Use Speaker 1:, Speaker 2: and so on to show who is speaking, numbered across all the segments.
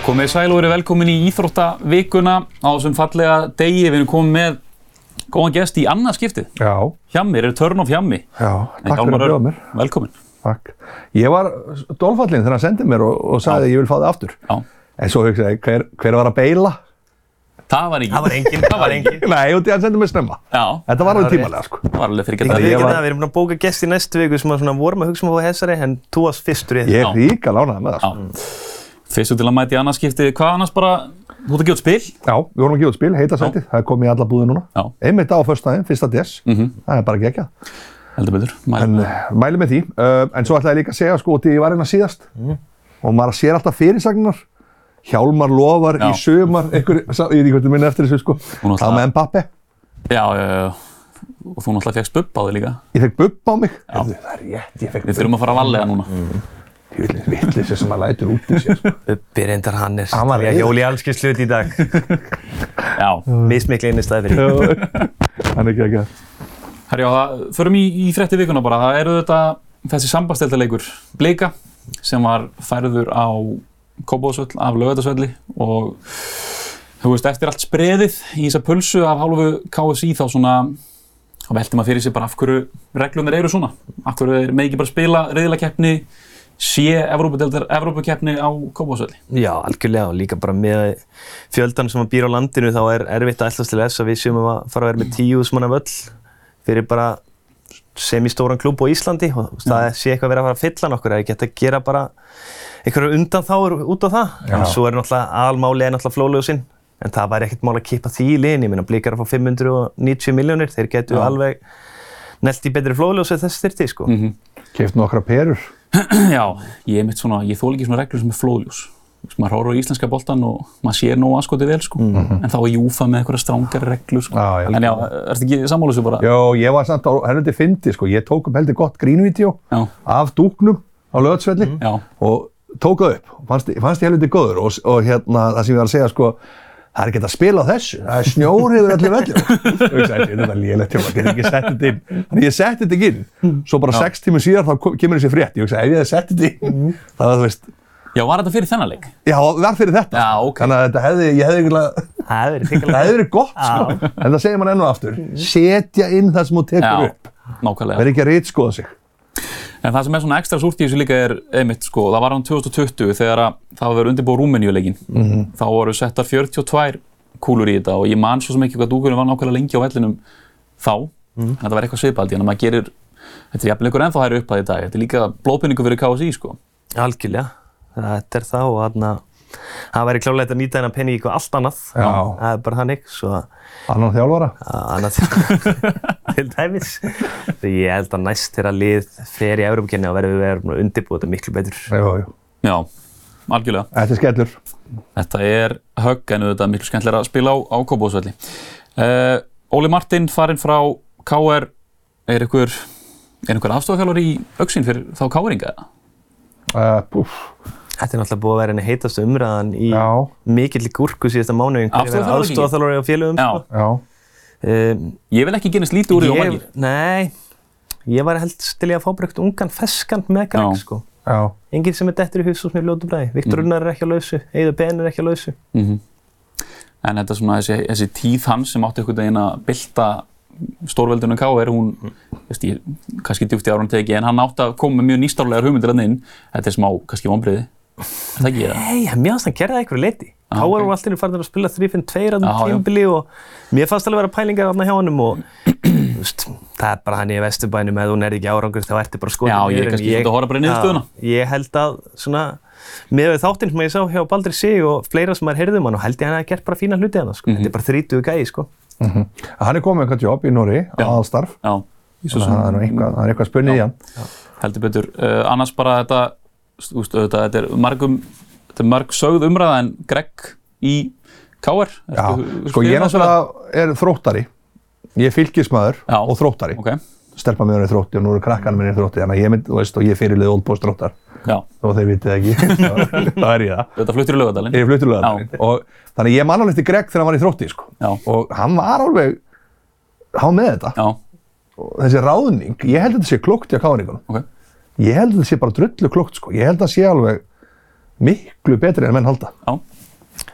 Speaker 1: Komið þið sæl og verið velkomin í Íþróttavikuna á þessum fallega degi. Við erum komið með góðan gest í annað skiptið.
Speaker 2: Já,
Speaker 1: Hjammi, eru törn of Hjammi.
Speaker 2: já,
Speaker 1: En
Speaker 2: takk fyrir
Speaker 1: Hjálmar
Speaker 2: að bjóða
Speaker 1: Örn,
Speaker 2: mér.
Speaker 1: Velkomin.
Speaker 2: Takk. Ég var dólfallin þegar hann sendið mér og, og sagði að ég vil fá það aftur.
Speaker 1: Já,
Speaker 2: En svo hugsaði ég, hver, hver var að beila?
Speaker 1: það var ekki.
Speaker 3: Það var enginn, það var enginn.
Speaker 2: Nei, og því hann sendið mér snemma.
Speaker 1: Já,
Speaker 2: Þetta var
Speaker 3: Það
Speaker 2: alveg
Speaker 3: var
Speaker 2: tímalega, sko.
Speaker 1: það var alveg fyrir
Speaker 3: Ég
Speaker 1: geta.
Speaker 3: veit
Speaker 2: ég
Speaker 3: ekki
Speaker 2: var-
Speaker 3: það, við erum búin að bóka gest í næstu viku sem að svona vorum að hugsa um að fá hessari en þú varst fyrstur í þetta.
Speaker 2: Ég er ríka lánaði með það, sko.
Speaker 1: Fyrstu til að mæta í annað skiptið. Hvað annars bara, þú ert að gefa út spil?
Speaker 2: Já, við vorum að gefa út spil, heita sætið. Það er komið í alla búði núna.
Speaker 1: Já. Mhm.
Speaker 2: Einmitt á föstudaginn, fyrsta DS. Það er bara gegja.
Speaker 1: Heldur betur.
Speaker 2: En
Speaker 1: Mælum.
Speaker 2: eh, mæli með því. Uh, en svo ætlaði ég líka að segja, sko, því ég var hérna síðast.
Speaker 1: Mhm.
Speaker 2: Og maður sér alltaf fyrirsagnar. Hjálmar lofar
Speaker 1: Já.
Speaker 2: í sumar, einhver, ég veit ekki hvernig minna eftir þessu, sko.
Speaker 1: Hún
Speaker 2: Það
Speaker 1: náttúrulega-
Speaker 2: með Mbappe.
Speaker 1: Já, já, já, já. Og þú náttúrulega fegst bupp á þig líka.
Speaker 2: Ég fekk bubb á mig. Heyrðu, Mm. það er rétt, ég fekk
Speaker 1: Við þurfum að fara að vallega núna.
Speaker 2: Júlið vittlisi sem að lætur út í sér. sko.
Speaker 3: Uppi reyndar hann er
Speaker 2: Hann var
Speaker 3: að
Speaker 2: reiður.
Speaker 3: hjóli allski slut í dag.
Speaker 2: Mm.
Speaker 1: Já.
Speaker 3: Mismikli einu staði fyrir.
Speaker 2: Hann er ekki ekki að.
Speaker 1: Herjá, það förum í, í frétti vikuna bara. Það eru þetta þessi sambasteltaleikur Bleika sem var færður á Kópavóðsvöll af Lögætasvölli og þú veist, eftir allt spreðið í þessa pulsu af hálfu KSI þá svona þá velti maður fyrir sér bara af hverju reglunir eru svona. Af hverju er með ekki bara spila reyðilakeppni sé Evrópudeldar Evrópukeppni á Kópavóðsvölli.
Speaker 3: Já, algjörlega og líka bara með fjöldan sem að býr á landinu þá er erfitt að ætlast til þess að við séum að fara að vera með tíu sem hann völl fyrir bara semistóran klúb á Íslandi og það sé eitthvað að vera að fara að fylla nokkur að ég geta að gera bara einhverjar undan þáur út á það en svo er náttúrulega aðalmáli er náttúrulega flólögusinn en það væri ekkert mál að kippa því í liðin ég minna blíkar að fá 590 miljónir þeir getu alveg nelt í betri flólögussi þess styrti sko
Speaker 2: Keift nokkra perur.
Speaker 1: Já, ég er mitt svona, ég þól ekki svona reglur sem er flóðljós. Þú veist, maður horfur á íslenska boltan og maður sér nógu aðskotið vel sko, en þá er Júfa með einhverja strángari reglur sko.
Speaker 2: Mhm. Já, já.
Speaker 1: en já, ertu ekki sammála þessu bara?
Speaker 2: Jó, ég var samt á hennundi fyndi, sko. Ég tók upp heldur gott grínvídeó
Speaker 1: Já.
Speaker 2: af dúknum á löðsvelli
Speaker 1: Já.
Speaker 2: og tók það upp. Fannst, fannst ég heldur góður og, og hérna það sem ég var að segja, sko, það er ekki hægt að spila á þessu. Það er snjór yfir allir vellum. Þú veist, þetta er lélægt hjá maður, getur ekki sett þetta inn. Þannig ég setti þetta ekki inn. Svo bara sex tímur síðar þá kom- kemur þessi frétt. Ég hugsa, ef ég hefði sett þetta inn, þá hefði, þú veist,
Speaker 1: já, var þetta fyrir þennan leik?
Speaker 2: Já, verð fyrir þetta.
Speaker 1: Já, ok.
Speaker 2: Þannig að þetta hefði, ég hefði einhverja,
Speaker 3: Það er verið
Speaker 2: það
Speaker 3: þykkilega
Speaker 2: hefði verið gott, sko. En það segir mann enn og aftur. Setja inn það sem þú tekur upp.
Speaker 1: nákvæmlega.
Speaker 2: Verð ekki að rýtskoða sig.
Speaker 1: En það sem er svona ekstra súrt í þessu líka er, einmitt sko, það var án 2020 þegar að það var undirbúið Rúmeníuleikin. Þá voru settar 42 kúlur í þetta og ég man svo sem ekki hvað dúkurinn var nákvæmlega lengi á vellinum þá. En þetta var eitthvað sviðbaldi, en að maður gerir, þetta er jafnvel einhver ennþá hægri upphæði í dag. Þetta er líka blóðpenningu fyrir KSI sko.
Speaker 3: Algjörlega, þetta er það og þarna það væri klárlega að nýta hennar penning í eitthvað allt annað
Speaker 2: Já.
Speaker 3: það er bara þannig svo að
Speaker 2: Annan þjálfara.
Speaker 3: að annað til, til dæmis Því ég held að næst þegar lið fer í Európa-kenni og verðum við verðum undirbúið þetta miklu betur
Speaker 2: Jú, jú.
Speaker 1: Já, algjörlega.
Speaker 2: Þetta er skellur.
Speaker 1: Þetta er högg en auðvitað miklu skemmtilega að spila á, á Kópavóðsvelli. Uh, Óli Martin farinn frá KR, er ykkur, er ykkur afstofþjálfur í auksinn fyrir þá KR-inga?
Speaker 2: Uh, púf.
Speaker 3: Þetta er náttúrulega búið að vera henni heitast umræðan í
Speaker 2: Já.
Speaker 3: mikill gúrku síðasta mánu
Speaker 1: Afstöðuþjálfari ekki?
Speaker 3: aðstofþjálfari á félögum
Speaker 1: Já,
Speaker 3: sko.
Speaker 2: Já.
Speaker 3: um,
Speaker 1: ég vil ekki genast lítið úr því og
Speaker 3: ég,
Speaker 1: margir.
Speaker 3: Nei, ég var held til í að fá bara eitthvað ungan feskant
Speaker 1: Já.
Speaker 3: með
Speaker 1: Mm.
Speaker 3: gang sko.
Speaker 2: Já.
Speaker 3: Enginn sem er dettur í hús og sem er ljótu bræði. Viktor Unnar er ekki á lausu, Eidur Ben er ekki á lausu.
Speaker 1: Mhm. En þetta svona, þessi, þessi tíð hans sem átti einhvern veginn að bylta stórveldunum KR, hún,
Speaker 2: Mhm.
Speaker 1: veist ég, kannski djúpt í árun teki, en hann átti að koma með mjög nýstárlegar hugmyndir hann inn. Þetta er smá, kannski vonbriði. Er það ekki ég það?
Speaker 3: Nei, en mér fannst hann gerða eitthvað leiti.
Speaker 1: Já,
Speaker 3: Káar
Speaker 1: Ah, ok.
Speaker 3: voru allt í einu farin að spila
Speaker 1: Já, já.
Speaker 3: 3-5-2 ræðum tímbili og mér fannst alveg vera pælingar þarna hjá honum og þú veist, það er bara hann í vesturbænum ef þú nærði ekki árangur þá ertu bara skoðið
Speaker 1: Já, ég er kannski svolítið að horfa bara í niðurstöðuna.
Speaker 3: Ég held að svona með við þáttinn sem ég sá hjá Baldri Sig og fleira sem maður heyrðum hann og held ég hann að gert bara fína hluti hann sko.
Speaker 1: Mhm.
Speaker 3: Þetta er bara 30 gæi sko.
Speaker 2: Mhm. Hann er komið með eitthvað jobb í Nóri, aðalstarf.
Speaker 1: Já. Ég svo sem-
Speaker 2: Það er nú eitthvað, það er eitthvað spunnið í hann.
Speaker 1: heldur betur. Uh, annars bara þetta, úst, auðvitað, þetta er margum, þetta er marg sögð umræða en Greg í KR.
Speaker 2: Já. Sko ég náttúrulega er þróttari. Ég er fylgismæður
Speaker 1: Já.
Speaker 2: og þróttari.
Speaker 1: Ok,
Speaker 2: Stelpa með hann er þrótti og nú eru krakkan minn er þrótti. Þannig að ég mynd, þú veist, og ég fyrirlið Old Boys þróttar.
Speaker 1: já,
Speaker 2: Þó þeir vitið ekki. það er ég það.
Speaker 1: þetta fluttir í lögadalinn.
Speaker 2: Ég er fluturlega og þannig ég man alveg eftir Greg þegar hann var í þrótti sko.
Speaker 1: Já.
Speaker 2: og hann var alveg hann var með þetta
Speaker 1: Já,
Speaker 2: og þessi ráðning, ég held að þetta sé klókt í káringunum
Speaker 1: ok.
Speaker 2: ég held að þetta sé bara drullu klókt sko. ég held að það sé alveg miklu betri en menn halda
Speaker 1: Já,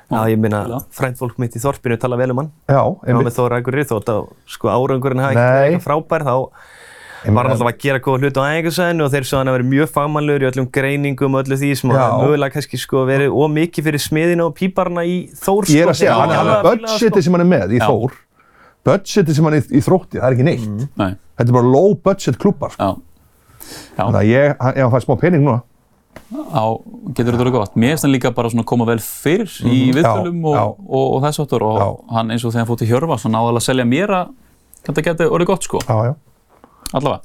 Speaker 3: Já, ég meina,
Speaker 1: Ah, algjörlega.
Speaker 3: frændfólk mitt í þorpinu tala vel um hann.
Speaker 2: Já,
Speaker 3: Ég var
Speaker 2: einmitt.
Speaker 3: með Þóra Akureyri þótt að sko árangurinn hafi ekki
Speaker 2: Nei.
Speaker 3: verið eitthvað frábær, þá
Speaker 2: Einmitt.
Speaker 3: var hann alltaf að gera góða hluti á æfingarsæðinu og þeir svo hann að vera mjög fagmannlegur í öllum greiningum og öllu því sem
Speaker 2: Já.
Speaker 3: hafi mögulega kannski sko verið ómikið fyrir smiðina og píparna í Þór sko.
Speaker 2: Ég er að segja,
Speaker 3: þeir
Speaker 2: hann, Sko,
Speaker 3: hafa
Speaker 2: hann,
Speaker 3: alveg að fíla það,
Speaker 2: budgetið
Speaker 3: sko.
Speaker 2: sem hann er með í
Speaker 3: Já.
Speaker 2: Þór, budgetið sem hann er í, í þrótti, það er ekki neitt.
Speaker 1: Nei,
Speaker 2: Þetta er bara low budget klubbar. Sko.
Speaker 1: já. Já.
Speaker 2: Þannig að ég, hann- ef hann fær smá pening núna,
Speaker 1: á, getur þetta verið gott. Mér finnst hann líka bara svona koma vel fyrir í viðtölum
Speaker 2: Mhm. Já,
Speaker 1: og,
Speaker 2: já.
Speaker 1: og, og þess áttur og
Speaker 2: Já.
Speaker 1: hann eins og þegar hann fór til Hjörvar svo náðalega að selja mér að þetta geti orðið gott sko,
Speaker 2: já, já.
Speaker 1: allavega.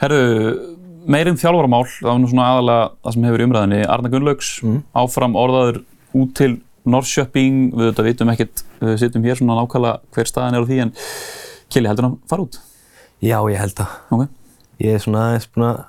Speaker 1: Herru, meirinn þjálfaramál, það var nú svona aðalega það sem hefur í umræðinni, Arna Gunnlaugs
Speaker 2: Mhm.
Speaker 1: áfram orðaður út til Norrköping, við þetta vitum ekkert, við sittum hér svona nákvæmlega hver staðan er á því en Kili heldur hann fara út,
Speaker 3: sko. Já, ég held að.
Speaker 1: ok?
Speaker 3: Ég er svona aðeins búinn að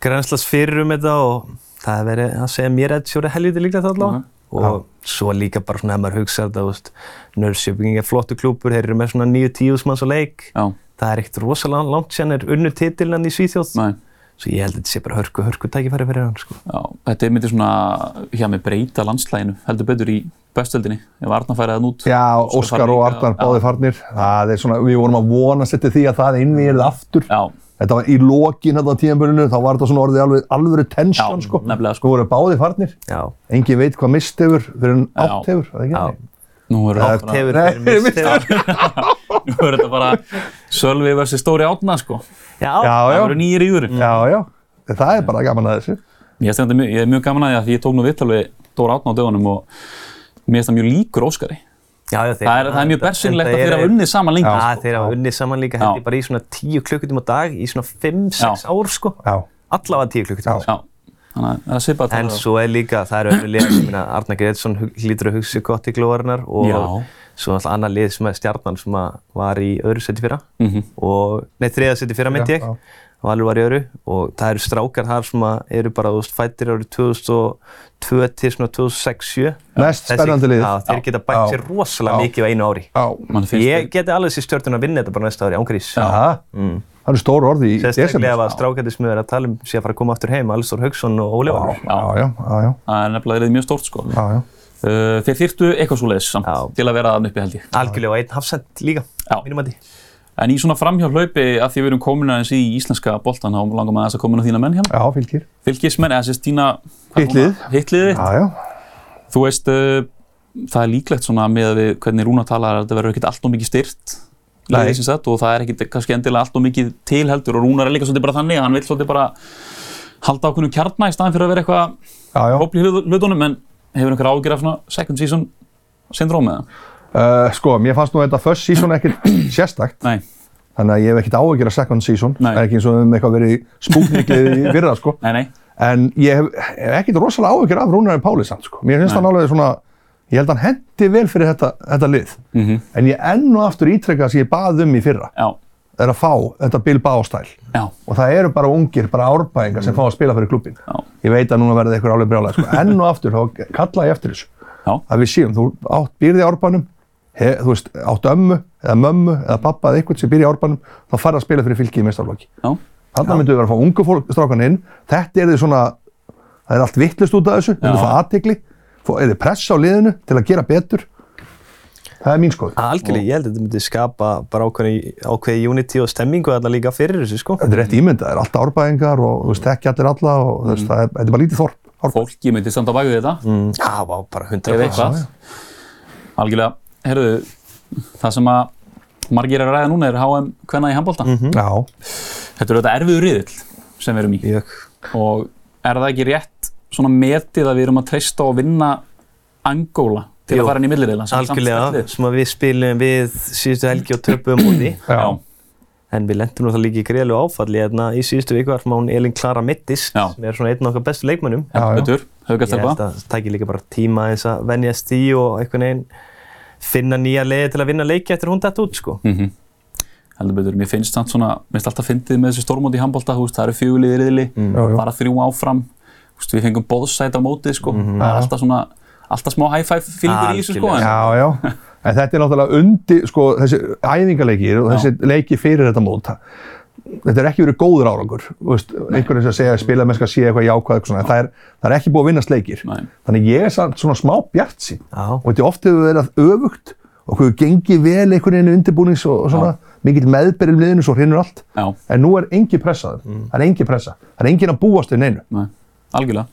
Speaker 3: grænslast fyrir um þetta og það er verið að segja mér að sjóri helviti líklega það allavega. Og svo líka bara svona að maður hugsa þetta, þú veist, Nörðsjöping er flottu klúpur, þeir eru með svona 9-10 manns á leik.
Speaker 1: Já,
Speaker 3: Það er ekkert rosalega langt sér hann er unnu titilinn í Svíþjóð.
Speaker 1: nei.
Speaker 3: Svo ég held að þetta sé bara hörku, hörku tækifæri fyrir hann, sko.
Speaker 1: Já, þetta er myndið svona hjá mig breyta landslæginu, heldur betur í bestöldinni, ef Arna færi þann út.
Speaker 2: Já,
Speaker 1: Óskar
Speaker 2: Óskar og
Speaker 1: líka,
Speaker 2: Arnar
Speaker 1: já.
Speaker 2: báði farnir. Það er svona, við vorum að vonast eftir því að það innví er aftur.
Speaker 1: Já,
Speaker 2: Þetta var í lokin þetta á tíðanbörninu, þá var þetta svona orðið alveg
Speaker 1: já,
Speaker 2: alvöru tensjón, sko.
Speaker 1: nefnilega sko.
Speaker 2: Sko voru báði farnir.
Speaker 3: Já.
Speaker 2: Engin veit hvað mist hefur fyrir en
Speaker 1: Já.
Speaker 2: átt hefur, er það ekki?
Speaker 3: Já.
Speaker 2: þannig?
Speaker 1: Nú er
Speaker 2: Það
Speaker 1: þetta
Speaker 3: Tefur
Speaker 2: Nei,
Speaker 3: fyrir mist. Já,
Speaker 1: nú er þetta bara Sölvi versus Stóri Átna sko. Það
Speaker 3: já.
Speaker 2: já.
Speaker 1: eru nýjir í yfir.
Speaker 2: Já, já. Það er bara gaman að þessu.
Speaker 1: Ég, finnst þetta mjög- ég er mjög gaman að því að ég tók nú vittal við Stóri Átna á dögunum og mér finnst það mjög líkur Óskari.
Speaker 3: já, þeir-
Speaker 1: Það er, það er mjög
Speaker 3: þetta-
Speaker 1: bersinlegt
Speaker 3: þetta
Speaker 1: að þeirra
Speaker 3: eru-
Speaker 1: unnið saman lengi.
Speaker 3: Já,
Speaker 1: sko.
Speaker 3: þeir hafa unnið saman líka held ég bara í svona 10 klukkutum á dag í svona
Speaker 1: Já.
Speaker 3: 5-6 ár sko.
Speaker 2: Já.
Speaker 3: Allavega 10 klukkutum.
Speaker 1: Já, þannig að það er svipað að
Speaker 3: En
Speaker 1: tala.
Speaker 3: svo er líka, það eru önnur lið, ég meina Arnar Greitsson hlýtur að hugsa sig gott í glóðarinnar og
Speaker 1: Já.
Speaker 3: svo alltaf annar lið sem er stjarnan sem að var í öðru seti fyrra og, nei, þriða seti fyrra myndi
Speaker 2: Já,
Speaker 3: ég
Speaker 2: já.
Speaker 3: og alveg var í öðru og það eru strákar þar sem að eru bara, þú veist, fættir árið 2002 til svona 2006-7
Speaker 2: Mest spennandi lið.
Speaker 3: Já, þeir geta bætt
Speaker 2: Já.
Speaker 3: sér rosalega
Speaker 2: Já.
Speaker 3: mikið á einu ári
Speaker 2: Já.
Speaker 1: Mann finnst
Speaker 3: Ég geti alveg sér stjórnum að vinna þetta bara næsta ári ángrís
Speaker 2: Aha.
Speaker 1: Mm.
Speaker 2: Það eru stór orði í
Speaker 3: Sérstaklega
Speaker 2: desember.
Speaker 3: ef að strákandi sem við erum að tala um sé að fara að koma aftur heim, Alistór Haugsson og Óli Valur
Speaker 2: Já, já, já, já.
Speaker 1: það er nefnilega verið mjög stórt sko.
Speaker 2: já, já.
Speaker 1: Uh, þeir þyrtu eitthvað svo leiðis samt
Speaker 3: Já.
Speaker 1: til að vera þann uppi held ég.
Speaker 3: Algjörlega og einn hafsend líka,
Speaker 1: Já.
Speaker 3: mínum að því.
Speaker 1: En í svona framhjá hlaupi, að því við erum komin aðeins í íslenska boltan, þá langar maður aðeins að koma inn á þína menn hjá.
Speaker 2: Já, fylgir.
Speaker 1: Fylgismenn, eða sérst þína...
Speaker 2: Hitt lið.
Speaker 1: Hittliði.
Speaker 2: Já, já.
Speaker 1: Þú veist, uh, það er líklegt svona með að við, hvernig Rúna talar, að þetta verður ekkert allt og mikið styrt.
Speaker 2: Nei.
Speaker 1: liðið sem sagt, Og það er ekkert kannski endilega allt og mikið til heldur og Rúnar er líka svolítið bara þannig að hann vil svolítið bara halda ákveðnum kjarna í staðan fyrir að vera eitthvað
Speaker 2: Já, já.
Speaker 1: hópl í hlut- hlutunum en hefur einhver ágjör af svona second season syndrome eða?
Speaker 2: Uh, sko, mér fannst nú þetta first season ekkert sérstakt,
Speaker 1: Nei,
Speaker 2: þannig að ég hef ekkert áhyggjur af second season,
Speaker 1: Nei.
Speaker 2: Það er ekki eins og við höfum eitthvað verið spúkninglið í fyrra, sko.
Speaker 1: nei, nei,
Speaker 2: En ég hef, hef ekkert rosalega áhyggjur af Rúnarinn Páli samt, sko. Mér finnst
Speaker 1: Nei.
Speaker 2: hann alveg svona, ég held hann hendi vel fyrir þetta, þetta lið.
Speaker 1: Mhm.
Speaker 2: En ég enn og aftur ítrekka það sem ég bað um í fyrra,
Speaker 1: já,
Speaker 2: er að fá þetta Bilbao-stæl.
Speaker 1: já,
Speaker 2: Og það eru bara ungir, bara árbæðingar
Speaker 1: Mhm.
Speaker 2: sem fá að spila fyrir klubbin.
Speaker 1: já,
Speaker 2: Ég veit að núna verði eitthvað alveg brjálæð, sko. Enn og aftur, þá kalla ég eftir þessu.
Speaker 1: já,
Speaker 2: að við séum, þú átt býrði í árbænum, he, þú veist, átt ömmu eða mömmu eða pappa eða eitthvað sem býr í árbænum, þá farið að spila fyrir fylki í meistarflokki.
Speaker 1: já,
Speaker 2: Þarna myndum við vera að fá ungu fólk, strákan inn, þetta er því svona, það er allt vittlust út af þessu, myndum
Speaker 1: Já.
Speaker 2: fá aðtegli, er þið pressa á liðinu til að gera betur. Það er mín skoð.
Speaker 3: Algjörlega, ég held að þetta myndi skapa bara ákveði, ákveði unity og stemmingu þarna líka fyrir þessu sko.
Speaker 2: Þetta er rétt ímyndað, það er alltaf árbæðingar og þú veist, ekki allir alla og þú veist, það er, þetta er bara lítið þorp. Árb-
Speaker 1: fólki myndi standa á bak við þetta.
Speaker 3: Mm, Já, vá, bara
Speaker 1: Ég
Speaker 3: 100
Speaker 1: veit það. Algjörlega, herðu, það sem að margir er að ræða núna er HM hvenna í handbólta.
Speaker 3: Mhm.
Speaker 2: Já,
Speaker 1: Þetta er þetta erfiður riðill sem við erum í
Speaker 3: Ég,
Speaker 1: og er það ekki rétt svona metið að við erum að treysta og vinna Angola til
Speaker 3: Jú.
Speaker 1: að fara inn í millirriðla sem er samt
Speaker 3: algjörlega,
Speaker 1: sterkt lið?
Speaker 3: sem að við spilum við síðustu helgi og töpum móti
Speaker 2: já,
Speaker 3: en við lendum nú það líka í greiðlu áfalli hérna í síðustu viku var hún Elin Klara Mittist
Speaker 1: Já.
Speaker 3: sem er svona einn af okkar bestu leikmönnum
Speaker 2: já, já.
Speaker 1: Betur,
Speaker 3: Ég held að
Speaker 1: haugastelpa.
Speaker 3: það tækir líka bara tíma eins að venjast í og einhvern veginn finna nýja leiði til að vinna leiki eftir hún dætt út sko.
Speaker 1: Mhm. Heldur betur, mér finnst samt svona, mér finnst alltaf fyndið með þessi stórmóti í handbólta, þú veist, það eru fjögulið í riðli,
Speaker 3: Mm.
Speaker 2: Já, já.
Speaker 1: bara þrjú áfram, þú veist, við fengum boðsæt á mótið, sko, það er
Speaker 2: Já.
Speaker 1: alltaf svona, alltaf smá high five fílingur í þessu, sko,
Speaker 3: Algjörlega.
Speaker 1: en
Speaker 2: Já, já. En þetta er náttúrulega undi, sko, þessi æfingaleikir og þessi leiki fyrir þetta mót. þetta er ekki verið góður árangur þú veist, einhvern veginn sem segja að spila mennska sé eitthvað jákvæð eitthvað svona, en það er, það er ekki búið að vinna sleikir
Speaker 1: Nei.
Speaker 2: þannig ég er samt svona smá bjart sín
Speaker 3: Já.
Speaker 2: og þetta oft hefur verið öfugt og hefur gengið vel einhvern veginn undirbúnings og, og svona, mikill meðberið um liðinu svo hrinnur allt
Speaker 1: Já.
Speaker 2: en nú er engin pressað mm. það er engin pressa, það er engin að búast við neinu
Speaker 1: Nei, algjörlega.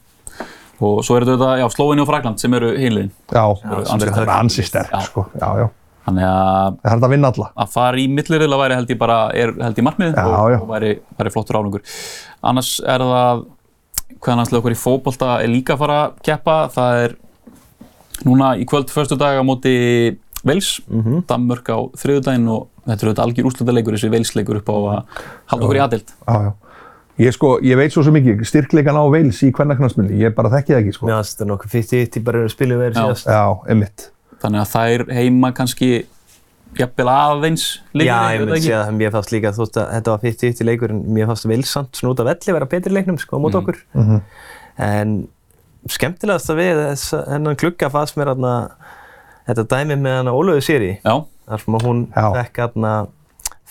Speaker 1: Og svo er þetta, já, Slóinni og Frakland sem eru hinliðin.
Speaker 2: já,
Speaker 1: eru
Speaker 2: sem
Speaker 1: ansi
Speaker 2: er
Speaker 1: sterk.
Speaker 2: ansi sterk
Speaker 1: Já.
Speaker 2: sko. já, já,
Speaker 1: Þannig að
Speaker 2: það er hægt að vinna alla
Speaker 1: að fara í millirriðla væri held ég bara, er held ég markmiðið
Speaker 2: Já,
Speaker 1: og,
Speaker 2: já.
Speaker 1: og væri, væri flottur árangur. Annars er það, hvaðan hans okkar í fótbolta er líka að fara að keppa, það er núna í kvöld, förstu dag á móti Vels, Danmörk á þriðudaginn og þetta er auðvitað algjör úrslutaleikur, þessi Velsleikur upp á að halda okkur í aðild.
Speaker 2: já, já. Ég, sko, ég veit svo sem ekki styrkleikan á veils í hvernaknarsminni, ég bara þekki það ekki sko.
Speaker 3: Mér finnst þetta nokkuð 50-50 bara eru að spila verið
Speaker 1: Já.
Speaker 3: síðast.
Speaker 2: já, emitt
Speaker 1: Þannig að þær heima kannski jafnvel aðeins
Speaker 3: Já,
Speaker 1: liðinu,
Speaker 3: ég
Speaker 1: veit
Speaker 3: myndi
Speaker 1: ekki.
Speaker 3: segja það, mér fannst líka þótt að þetta var 50-50 leikur en mér fannst vilsamt svona út af velli vera betri í leiknum sko á
Speaker 1: Mm.
Speaker 3: mót okkur. En skemmtilegast að við þess að hennan klukka fannst mér aðna þetta dæmi með hann Ólöfu Siri
Speaker 1: Já,
Speaker 3: þar sem að hún
Speaker 2: Já.
Speaker 3: fekk aðna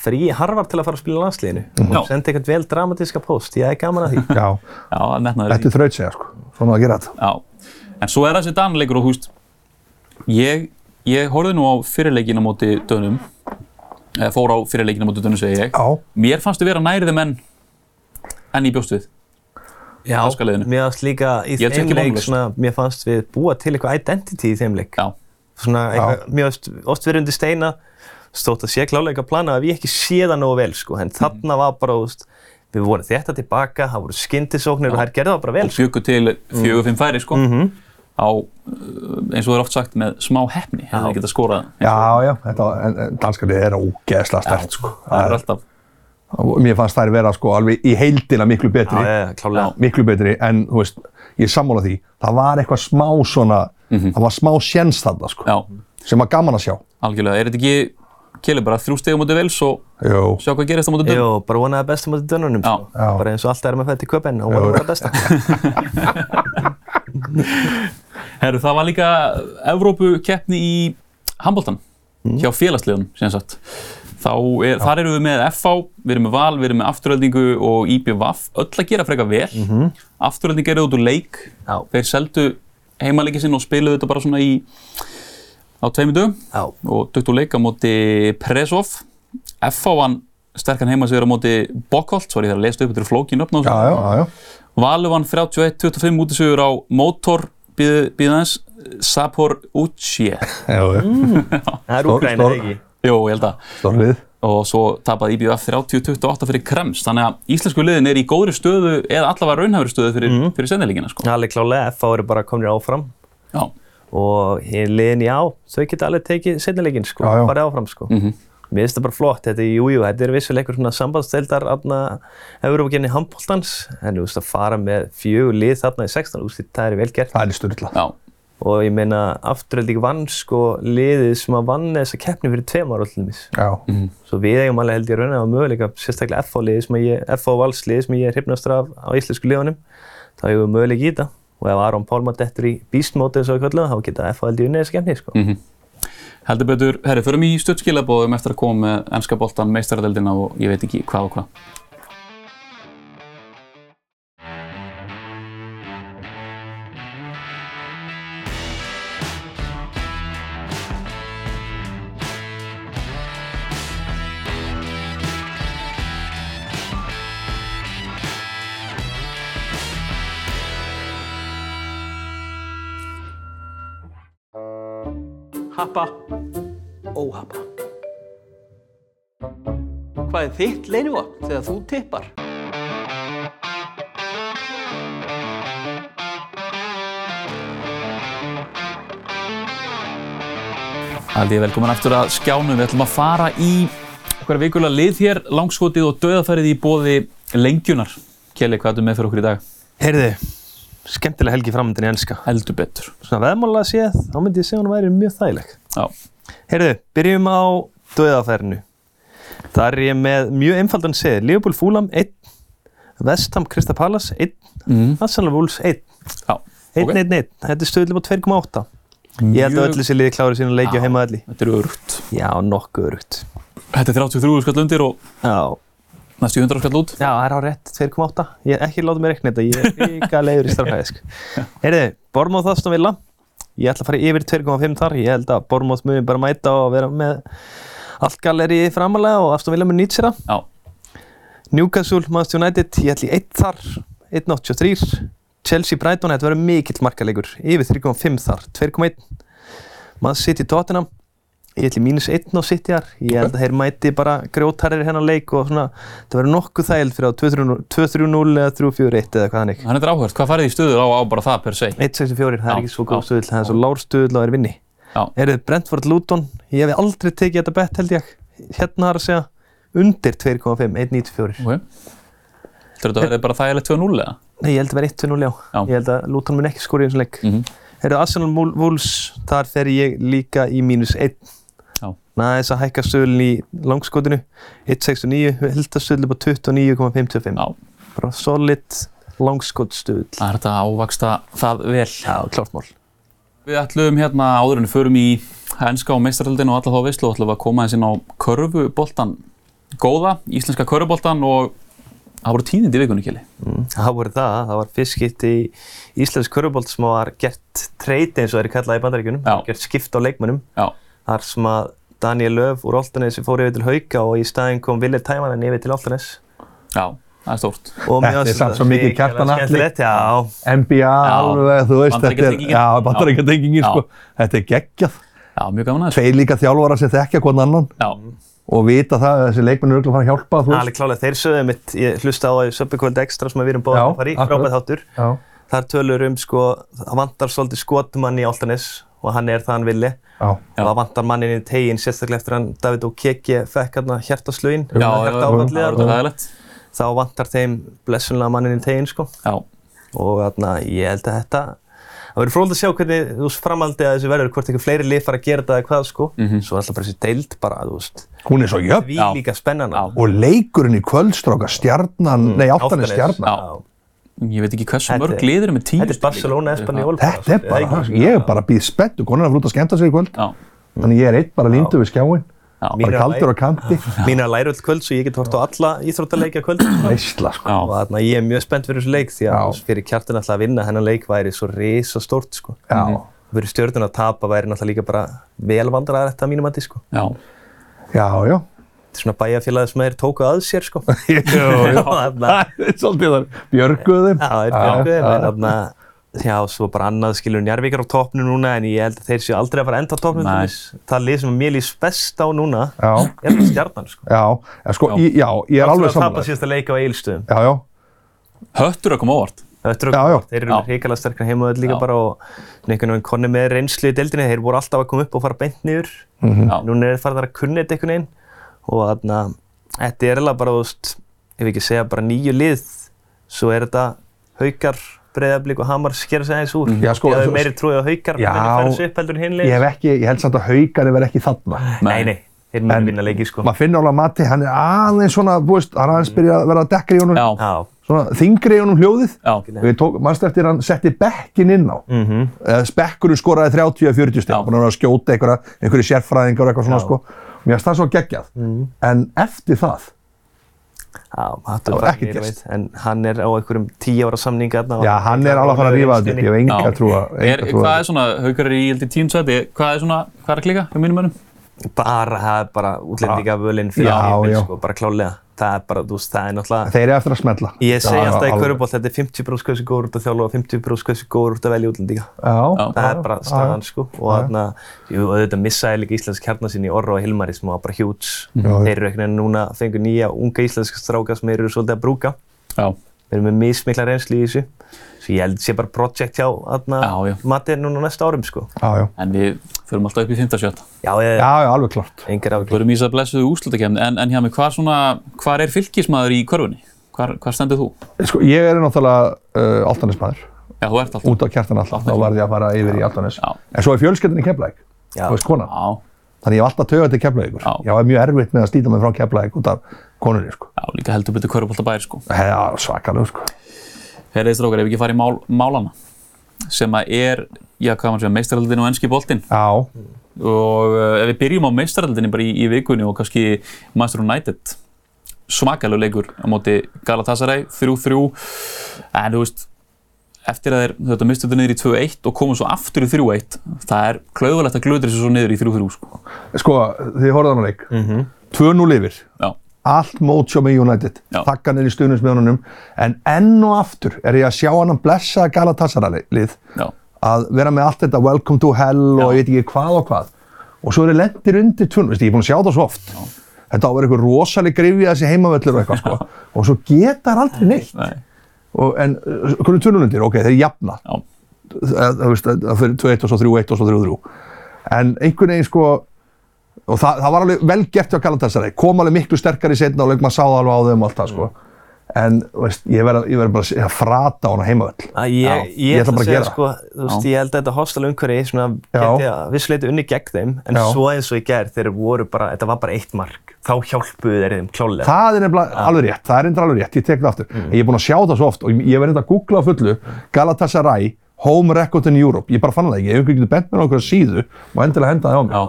Speaker 3: frí harfar til að fara að spila í landsliðinu. Hún
Speaker 1: Já.
Speaker 3: sendi eitthvað vel dramatíska post, ég er gaman að því.
Speaker 2: já,
Speaker 1: já, það metnaður.
Speaker 2: þetta er þraut segja sko. svona að gera þetta
Speaker 1: Já, en svo er þessi danleikur og húst, ég, ég horfði nú á fyrirleikina móti dönum, eða fór á fyrirleikina móti dönum segi ég.
Speaker 2: já,
Speaker 1: Mér fannst þau vera nærðum enn, enn í bjóst við.
Speaker 3: Já,
Speaker 1: Danska liðinu.
Speaker 3: mér fannst líka í
Speaker 1: Ég held sé
Speaker 3: þeim
Speaker 1: ekki
Speaker 3: leik
Speaker 1: vonlaust.
Speaker 3: svona, mér fannst við búa til eitthvað identity í þeim leik.
Speaker 1: Já,
Speaker 3: svona eitthvað, mér veist, oft verið undir steina stótt að sé klálega eitthvað planað að við ekki sé það nógu vel sko, en
Speaker 2: Mhm.
Speaker 3: þarna var bara, þú veist, við vorum þetta tilbaka, það voru skyndisóknir og þær gerðu það bara vel sko.
Speaker 1: og fjögur til fjögur fimm færi sko, á, uh, eins og það er oft sagt, með smá hefni, hefði
Speaker 3: Já.
Speaker 1: þið getað skorað.
Speaker 2: já, já, þetta en, en danska liðið er ógeðslega stert sko.
Speaker 1: Það er alltaf,
Speaker 2: Og Mér fannst þær vera sko alveg í heildina miklu betri,
Speaker 3: Já, já, já, klálega.
Speaker 2: Já. miklu betri en þú veist, ég er sammála því, það var eitthvað smá svona,
Speaker 3: Mhm.
Speaker 2: það var smá sjens þarna sko,
Speaker 1: já,
Speaker 2: sem var gaman að sjá.
Speaker 1: algjörlega. Er þetta ekki, Kjellir bara þrjú stegum móti vels og
Speaker 2: Jú,
Speaker 1: sjá hvað gerist á móti dönum?
Speaker 3: Jó, bara vonaði besta mútið dönunum
Speaker 1: Já.
Speaker 3: sko.
Speaker 2: Já.
Speaker 3: bara eins og alltaf er með fætt í köpen og vonaði bara besta
Speaker 1: Herru, það var líka Evrópukeppni í handbóltan hjá félagsliðunum, sem sagt. Þá er, þar erum við með FH, við erum með Val, við erum með Afturöldingu og IBVF, öll að gera frekar vel. Mm -hmm. Afturöldingu eru út úr leik,
Speaker 3: Já.
Speaker 1: þeir seldu heimaleiki sinn og spiluðu þetta bara svona í á tveimur dögum
Speaker 3: Já,
Speaker 1: og dutt úr leik á móti Presov. FH vann sterkan heimasigur á móti Bokholt, sorry þegar að lesa upp, þetta eru flókin upp
Speaker 2: já, já, já, já.
Speaker 1: Valur vann 31-25 útisugur á Motor bíðans Sapor Utsje
Speaker 2: Jú, jú.
Speaker 3: Mm. það er
Speaker 2: Stór-
Speaker 3: Úgræna
Speaker 2: stór-
Speaker 3: ekki
Speaker 1: Jó, ég held að
Speaker 2: Stór lið.
Speaker 1: og svo tapaði IBF 30-28 fyrir Krems þannig að íslensku liðin er í góðri stöðu eða allavega raunhæfri stöðu fyrir, mm. fyrir sennileginna sko.
Speaker 3: Það er alveg klálega, F.A. eru bara komnir áfram
Speaker 1: Já,
Speaker 3: og hin liðin já, þau geta alveg tekið setnilegin sko,
Speaker 2: Já, já.
Speaker 3: farið áfram sko. Mér finnst það bara flott, þetta er jújú, þetta er vissulega einhver svona sambandsteldar aðna Európa-genni handbóltans, en þú veist að fara með fjögur lið þarna í 16, þú veist það er vel gert.
Speaker 2: Það er styrla.
Speaker 1: já,
Speaker 3: Og ég meina, afturölding vann sko liðið sem að vann þessa keppni fyrir tveim ára allir mis.
Speaker 2: Já,
Speaker 3: Svo við eigum alveg held ég raun að möguleika, sérstaklega FH-liðið sem að ég, FH-valsliðið sem ég er hrifnastur af á íslensku liðunum, þá hefur við möguleika í þetta. Og ef Aron Pálma dettur í beastmóti eins og við köllum það, þá geta FH held ég unnið þessa keppni, sko.
Speaker 1: heldur betur Herri, förum í stuttskilabóðum eftir að koma með ennska boltan, meistaradeldina og ég veit ekki hvað og hvað
Speaker 4: Happa Óhappa Hvað er þitt leinivopn þegar þú tippar?
Speaker 1: Haldið velkomin aftur að skjánum. Við ætlum að fara í okkar vikulega lið hér, langskotið og döðafærið í bóði lengjunar. Kjelli, hvað ertu með fyrir okkur í dag?
Speaker 3: Heyrðu, skemmtilega helgi framöndin í ennska.
Speaker 1: Heldur betur.
Speaker 3: Svona veðmála séð, þá myndi ég segja hún væri mjög þægileg.
Speaker 1: Já,
Speaker 3: Heyrðu, byrjum á döðafærinu. Þar er ég með mjög einfaldan segið. Leopold Fúlam 1, Vestham Krista Pallas 1, mm. Hassanlega Vúls 1. 1,
Speaker 1: já.
Speaker 3: 1, 1, 1. Þetta er stöðlum á 2,8. Ég held að öllu sér liði klári sína leiki á heimaðalli.
Speaker 1: Þetta er örugt.
Speaker 3: Já, nokkuð örugt.
Speaker 1: Þetta er 33 skall undir og
Speaker 3: Já,
Speaker 1: næstu 100 skall út.
Speaker 3: Já, það er á rétt 2,8. Ég er ekki látið mér reikna þetta, ég er líka leiður í starfæði, sko. Heyrðu, Bormóð Aston Villa. Ég ætla að fara yfir 2,5 þar. Ég held að Bormóð muni bara mæta og vera með allt galleri framalega og Aston Villa mun nýtt sér það.
Speaker 1: Já,
Speaker 3: Newcastle, Manchester United, ég ætla í 1 þar, 1.83. Chelsea, Brighton, þetta verður mikill markalegur. Yfir 3,5 þar, 2,1. Man City, Tottenham, ég ætla í mínus 1 á City þar. Ég held að þeir mæti bara grjótarrir hennar leik og svona, þetta verður nokkuð þægild fyrir á 2-3-0 2-3-0 eða 3-4-1 eða hvað hann ekki.
Speaker 1: hann er áhört. Hvað farið í stuður á, á bara það per se?
Speaker 3: 1-6-4, það
Speaker 1: Já,
Speaker 3: er ekki svo góð
Speaker 1: já.
Speaker 3: stuðl, það er svo lár stuðl og er vinni.
Speaker 1: Já.
Speaker 3: Eru þið Brentford, Luton, ég hef aldrei tekið þetta bett held ég. Hérna har að segja undir 2,5, 1.94.
Speaker 1: Ok. Heldur þetta að verði bara þægilegt 2-0 eða?
Speaker 3: Nei, ég held að vera 1-2-0, já.
Speaker 1: Já.
Speaker 3: Ég held að Luton mun ekki skora í þessum leik. Mm
Speaker 1: Mhm.
Speaker 3: Eru Arsenal Mul- Wolves, þar fer ég líka í mínus 1.
Speaker 1: Já.
Speaker 3: Næs að hækka stöðlun í langskotinu. 1-69, heldastöðlu bara 29,55.
Speaker 1: Já,
Speaker 3: Bara solid langskotstöðl.
Speaker 1: það er þetta að ávaksta það vel.
Speaker 3: Já, klart mál.
Speaker 1: Við ætlum hérna áður en við förum í henska og meistaröldin og alla þá veistlu ætlum við að koma eins inn á körfuboltan góða, íslenska körfuboltan og það voru tíðindi í vikunni kili.
Speaker 3: Mm. Það voru það, það var fyrst skipti í Íslands körfubolt sem var gert trade eins og þeir eru kallað í bandaríkjunum.
Speaker 1: Já.
Speaker 3: Gert skipt á leikmönnum.
Speaker 1: Já,
Speaker 3: Þar sem að Daniel Löf úr Oltanesi fór yfir til Hauka og í staðinn kom Ville Tæmanen yfir til Oltanes.
Speaker 1: já, það er stórt.
Speaker 3: Og mér
Speaker 2: Þetta er
Speaker 3: fannst
Speaker 2: samt
Speaker 3: þetta
Speaker 2: svo mikið
Speaker 3: hrikalega
Speaker 2: Kjartan Atli.
Speaker 3: skemmtilegt, Já,
Speaker 2: NBA, alveg, þú veist, þetta er,
Speaker 1: Bandaríkjatengingin.
Speaker 2: já, bandaríkatengingin,
Speaker 1: Já.
Speaker 2: sko, þetta er geggjað.
Speaker 1: Já, mjög gaman aðeins.
Speaker 2: Tveir líka þjálfara sem þekkja hvern annan
Speaker 1: Já,
Speaker 2: og vita það að þessi leikmenn eru örugglega að fara að hjálpa, þú veist.
Speaker 3: alveg klálega þeir sögðu mitt, ég hlusta á það í Söpbykvöld Extra sem við erum bóðið
Speaker 2: Já,
Speaker 3: að fara í,
Speaker 2: akkurat.
Speaker 3: frábæð þáttur.
Speaker 2: Já.
Speaker 3: Þar tölur um sko, það vantar svolítið skotmann í Altanis og hann er það hann villi.
Speaker 2: Já.
Speaker 1: Já.
Speaker 3: Og það vantar mannin í tegin sérstaklega eftir hann David Okeke fekk hérna hjartaslögin.
Speaker 1: já, já, já,
Speaker 3: hjarta
Speaker 1: það voru
Speaker 3: áfallið þar.
Speaker 1: þetta þægilegt.
Speaker 3: Þá vantar þeim blessunlega mannin í tegin sko.
Speaker 1: Já,
Speaker 3: Og þarna, ég held að þetta, það verður frólægt að sjá hvernig þú veist, framhaldið að þessu verður, hvort eitthvað fleiri lið fara að gera þetta eða hvað sko.
Speaker 2: Mhm.
Speaker 3: Svo er alltaf bara þessi deild bara, þú veist,
Speaker 2: Hún er svo jöfn.
Speaker 3: því
Speaker 1: Já.
Speaker 3: líka spennan.
Speaker 1: Já.
Speaker 2: Og leikurinn í kvöldstróka, stjarnan, nei, áttan er
Speaker 1: já.
Speaker 2: stjarnan.
Speaker 1: Ég veit ekki hversu
Speaker 3: Þetta er-
Speaker 1: mörg liður með tíu.
Speaker 3: Þetta er Barcelona, Espanyol.
Speaker 2: Þetta er bara, ég er bara býð spennt og konar að flúta að skemmta sér í kvöld.
Speaker 1: Já,
Speaker 2: Þannig ég er eitt bara lindu við skjáin,
Speaker 1: já,
Speaker 3: Mín-
Speaker 1: já,
Speaker 2: bara kaldur á kanti.
Speaker 3: Mín er að læra öll kvöld, svo ég get hort á alla íþróttaleikja kvöld.
Speaker 2: Veistla, sko.
Speaker 3: og þarna ég er mjög spennt fyrir þessu leik því að
Speaker 2: Já.
Speaker 3: fyrir kjartin alltaf að vinna hennan leik væri svo risa stórt sko.
Speaker 2: Já.
Speaker 3: Fyrir stjórnun að tapa væri náttúrulega líka bara velvandrar þetta mínum að því sko.
Speaker 1: já.
Speaker 2: Já, já.
Speaker 3: Þetta er svona bæjarfélagið sem þeir tóku að sér sko.
Speaker 2: Jú, jú.
Speaker 3: Þarna-
Speaker 2: Það er svolítið þar. Björguðum.
Speaker 3: Já, það er björguðir, en þarna Já, svo bara annað skilur Njarvíkar á toppnu núna en ég held að þeir séu aldrei að fara að enda á toppnu
Speaker 1: Nei.
Speaker 3: Það lið sem mér líst best á núna
Speaker 2: Já.
Speaker 3: er bara stjarnan sko.
Speaker 2: Já, en sko,
Speaker 1: Já.
Speaker 2: Í, já, ég er
Speaker 3: Það
Speaker 2: alveg
Speaker 3: að tapa
Speaker 2: samanlega.
Speaker 3: síðasta leik á Egilstöðum
Speaker 2: Já, já.
Speaker 1: Höttur að koma óvart.
Speaker 3: Þetta eru
Speaker 2: Já, já.
Speaker 3: þeir eru
Speaker 1: Já.
Speaker 3: hrikalega sterkar heimöður líka
Speaker 1: Já.
Speaker 3: bara og svona einhvern veginn konni með reynslu í deildinni, þeir voru alltaf að koma upp og fara beint niður.
Speaker 2: Mhm.
Speaker 1: Já.
Speaker 3: Núna er þeir farið að kunna þetta einhvern veginn og þarna, þetta er alveg bara, þú veist, ef ekki segja bara nýju lið, svo er þetta haukar, breyðablík og hamar skera sig aðeins úr.
Speaker 2: Já, sko,
Speaker 3: Ég hafði
Speaker 2: þú-
Speaker 3: meiri trúið á haukar,
Speaker 2: Já.
Speaker 3: menn að færa sig upp heldur en
Speaker 2: Ég
Speaker 3: hinlið.
Speaker 2: hef ekki, ég held samt að haugari verð ekki þarna.
Speaker 3: Nei, nei, þeir munu
Speaker 2: En-
Speaker 3: vinna leiki, sko.
Speaker 2: Maður finnur alveg að Matti, hann er aðeins svona, þú veist, hann er aðeins byrjað að vera að dekka í honum,
Speaker 1: Já, já,
Speaker 3: Já,
Speaker 2: svona þingri í honum hljóðið.
Speaker 1: já,
Speaker 2: Og ég tók, mannstu eftir hann setti bekkin inn á. Mm
Speaker 3: Mhm.
Speaker 2: -hmm. Bekkurinn skoraði 30-40
Speaker 1: Já.
Speaker 2: steg, búin að vera að skjóta einhverja, einhverju sérfræðingar og eitthvað svona, sko. Mér finnst það svo geggjað.
Speaker 3: Mhm.
Speaker 2: En eftir það,
Speaker 3: já, það
Speaker 2: var
Speaker 3: var
Speaker 2: ekki
Speaker 3: ekki
Speaker 2: gert.
Speaker 3: gert. En hann er á einhverjum tíu ára samninga þarna og-
Speaker 2: já, hann er alveg að fara að rífa þetta upp, ég hef
Speaker 1: já.
Speaker 2: enga trúa.
Speaker 1: Er, hvað er svona, haukar er í held í tíundsæti, hvað er svona, hvað er að klika hjá mínum mönnum?
Speaker 3: bara, það er bara útlendingavölinn fyrir
Speaker 2: Já,
Speaker 3: tímabil,
Speaker 2: já.
Speaker 3: sko, bara klálega það er bara, þú veist, það er náttúrulega
Speaker 2: Þeir eru eftir að smella.
Speaker 3: ég segi
Speaker 2: Já,
Speaker 3: alltaf í
Speaker 2: alveg.
Speaker 3: körubolt, þetta er 50 brús hversu góður út að þjálfa og 50 brús hversu góður út að velja útlendinga
Speaker 2: Já,
Speaker 1: Já.
Speaker 3: það er bara staðan, sko og þarna, jú, auðvitað missaði líka Íslands kjarnar sinni í Orra og Hilmari sem var bara hjúts þeir eru ekkert en núna fengur nýja unga íslenska stráka sem þeir eru svolítið að brúka
Speaker 1: Já,
Speaker 3: við erum með mismikla reynslu í þessu svo ég held sé bara project hjá
Speaker 1: Já, já.
Speaker 3: þarna, Matti núna á næstu árum, sko
Speaker 2: já, já.
Speaker 1: en við förum alltaf upp í 57.
Speaker 3: já, ég,
Speaker 2: Já, já, alveg klart.
Speaker 3: engar
Speaker 1: Við
Speaker 3: ágjör
Speaker 1: erum í þess að blessuðu úslutakefni, en, en hjá mig, hvar, svona, hvar er fylgismæður í körfunni? Hvar, hvar stendur þú?
Speaker 2: Sko, ég er náttúrulega uh, altanismæður,
Speaker 1: Já, þú ert alltaf.
Speaker 2: út á kjartan alltaf, þá varði ég að fara yfir í altanis.
Speaker 1: Já.
Speaker 2: En svo er fjölskyldin í Keflæk,
Speaker 3: Já.
Speaker 2: þú veist konan.
Speaker 1: Já,
Speaker 2: Þannig ég hef alltaf tögat til Keflækur.
Speaker 1: Já.
Speaker 2: Ég var mjög erfitt með að slíta mig frá Keflæk út af konunni, sko.
Speaker 1: já, líka heldur betur körfbóltabæri, sko.
Speaker 2: Það er svakalega, sko.
Speaker 1: Herriði strókar, ef ekki farið í mál, málana, sem að er, já, hvað maður segja, meistaraldin og ennski boltinn.
Speaker 2: Já,
Speaker 1: eh, Og uh, ef við byrjum á meistaraldinni bara í, í vikunni og kannski Master United, smakalegu leikur á móti Galatasaray, 3-3 en þú veist eftir að þeir þetta mistu þetta niður í 2-1 og komu svo aftur í 3-1 það er klaugulegt að glöðri þessu svo niður í 3-3 sko.
Speaker 2: Sko, þið horfðan á leik.
Speaker 1: Mhm.
Speaker 2: 2-0 yfir.
Speaker 1: já,
Speaker 2: Allt mót sjá með United.
Speaker 1: Já.
Speaker 2: Þakkan er í stuðnismjónunum. En enn og aftur er ég að sjá hann að blessa Galatasaray-lið
Speaker 1: já,
Speaker 2: að vera með allt þetta welcome to hell og
Speaker 1: Já.
Speaker 2: ég veit ekki hvað og hvað. Og svo eru lendir undir tvunum, veist, ég er búinn að sjá það svo oft. Þetta á að vera eitthvað rosaleg grifja þessi heimavöllur og eitthvað sko. Og svo getar aldrei neitt.
Speaker 1: nei,
Speaker 2: Og, en uh, hvernig tvunulundir, ok, þeir jafna.
Speaker 1: já,
Speaker 2: Það það veist, eh, það fyrir 2-1 og svo 3-1 og svo 3-3. En einhvern veginn sko, og það, það var alveg vel gert hjá Galatasaray, kom alveg miklu sterkari setna og leik maður sá það alveg á þeim og allt það sko.
Speaker 1: Mm.
Speaker 2: En veist, ég verði ver bara að segja, frata á hana heimavöll.
Speaker 3: Að Ég,
Speaker 2: Já,
Speaker 3: ég, ég ætla bara að
Speaker 2: gera það.
Speaker 3: segja, sko, þú veist, ég held að þetta hostal umhverfi svona,
Speaker 2: Já.
Speaker 3: geti að vissuleiti unni gegn þeim en
Speaker 2: Já.
Speaker 3: svo eins og í gerð, þeir voru bara, þetta var bara eitt mark þá hjálpuðu þeir þeim klálega
Speaker 2: Það er nefnilega alveg rétt, það er nefnilega alveg rétt, ég tek það aftur.
Speaker 1: Mm.
Speaker 2: En Ég er búinn að sjá það svo oft og ég verði þetta að googla á fullu Galatasaray Home Record in Europe. Ég bara fann það ekki, ef einhvern getur bent mér á einhverja síðu og endilega henda það á mig.
Speaker 1: já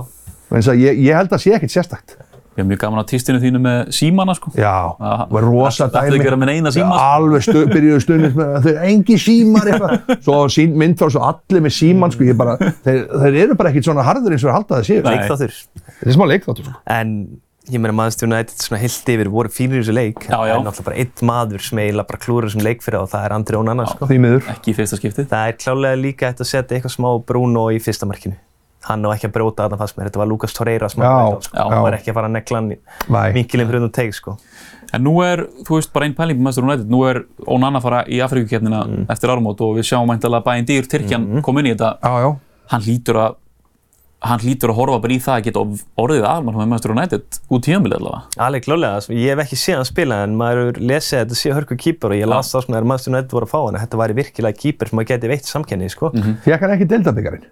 Speaker 2: Þannig að ég, ég held að sé ekkert sérstakt.
Speaker 1: ég hef mjög gaman að tístinu þínu með símana sko.
Speaker 2: Já,
Speaker 1: Aha.
Speaker 2: það var rosa
Speaker 1: Ættu- ættu ekki að vera með neina síma,
Speaker 2: Já,
Speaker 1: sko?
Speaker 2: Alveg stu, byrjuðu stundins með að þau eru engi símar eitthvað. Svo sín, mynd frá svo allir með síman, sko, ég bara, þeir, þeir eru bara ekkert svona harður eins og þeir halda það séu.
Speaker 1: Mm. Nei.
Speaker 3: leikþáttur
Speaker 2: Þetta er smá leikþáttur, sko.
Speaker 3: en ég meina maður United svona heilt yfir voru fínir í þessu leik
Speaker 1: Já, já.
Speaker 3: en náttúrulega bara eitt maður sem eiginlega bara klúrar þessum leik fyrir og það er Andri Ónana sko.
Speaker 2: Því miður.
Speaker 1: ekki í fyrsta skiptið
Speaker 3: það er klálega líka hægt að setja eitthvað smá Bruno í fyrsta markinu hann á ekki að bróta að það fannst mér, þetta var Lucas Torreira sem
Speaker 2: Já,
Speaker 3: hann bæta á, sko.
Speaker 1: já.
Speaker 3: hann var ekki að fara að negla
Speaker 2: Nei.
Speaker 3: hann vinkilinn fyrir um teik sko.
Speaker 1: en nú er, þú veist, bara einn pæling með mestur United, nú er Onana að fara í Afrikukefnina eftir ármót og við sjáum mæntalega bæinn dýr Tyrkjan kom inn í þetta
Speaker 2: Já, já.
Speaker 1: hann hlýtur að hann hlýtur að horfa bara í það að geta of- orðið almann með Manchester United út tíðanbíl allavega.
Speaker 3: alveg klálega, sko. ég hef ekki séð hann spila en maður hefur lesið að þetta sé hörku kýpar og ég las það svona þegar maður United voru að fá hann að þetta væri virkilega kýpar sem maður geti veitt samkenni sko.
Speaker 2: Fekk hann ekki deildabikarinn?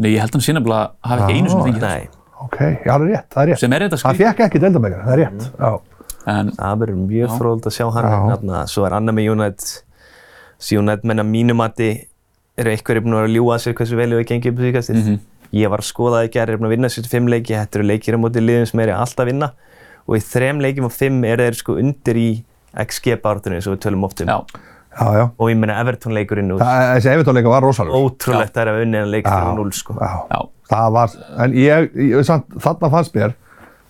Speaker 1: Nei, ég held hann sé nefnilega að hafa ekki einu sem fengið það.
Speaker 3: Nei,
Speaker 2: Ok, já, það er rétt, það er rétt.
Speaker 1: Sem er Mm. þetta
Speaker 2: Hann
Speaker 1: skrið.
Speaker 2: fekk ekki deildabegar, það er rétt. Já.
Speaker 1: En
Speaker 3: það verður mjög fróld að sjá hann
Speaker 2: Já.
Speaker 3: þarna, svo er annað með United svo United menna mínumati eru einhverjir búin að vera að ljúa sér hversu vel við gengið upp síkast mm ég var að skoða það í gerð, er búin að vinna 75 leiki þetta eru leikir á móti liðum sem er alltaf að vinna og í þrem leikjum og fimm eru þeir sko undir í XG barðunni eins og við tölum oft um
Speaker 1: já,
Speaker 2: Já, já.
Speaker 3: og ég menna Everton leikurinn og
Speaker 2: Það, þessi Evertónleika var rosalur.
Speaker 3: ótrúlegt að það er að unni en leik
Speaker 2: Já.
Speaker 3: fyrir 0 sko
Speaker 2: Já.
Speaker 1: já,
Speaker 2: Það var, en ég, ég samt, þarna fannst mér,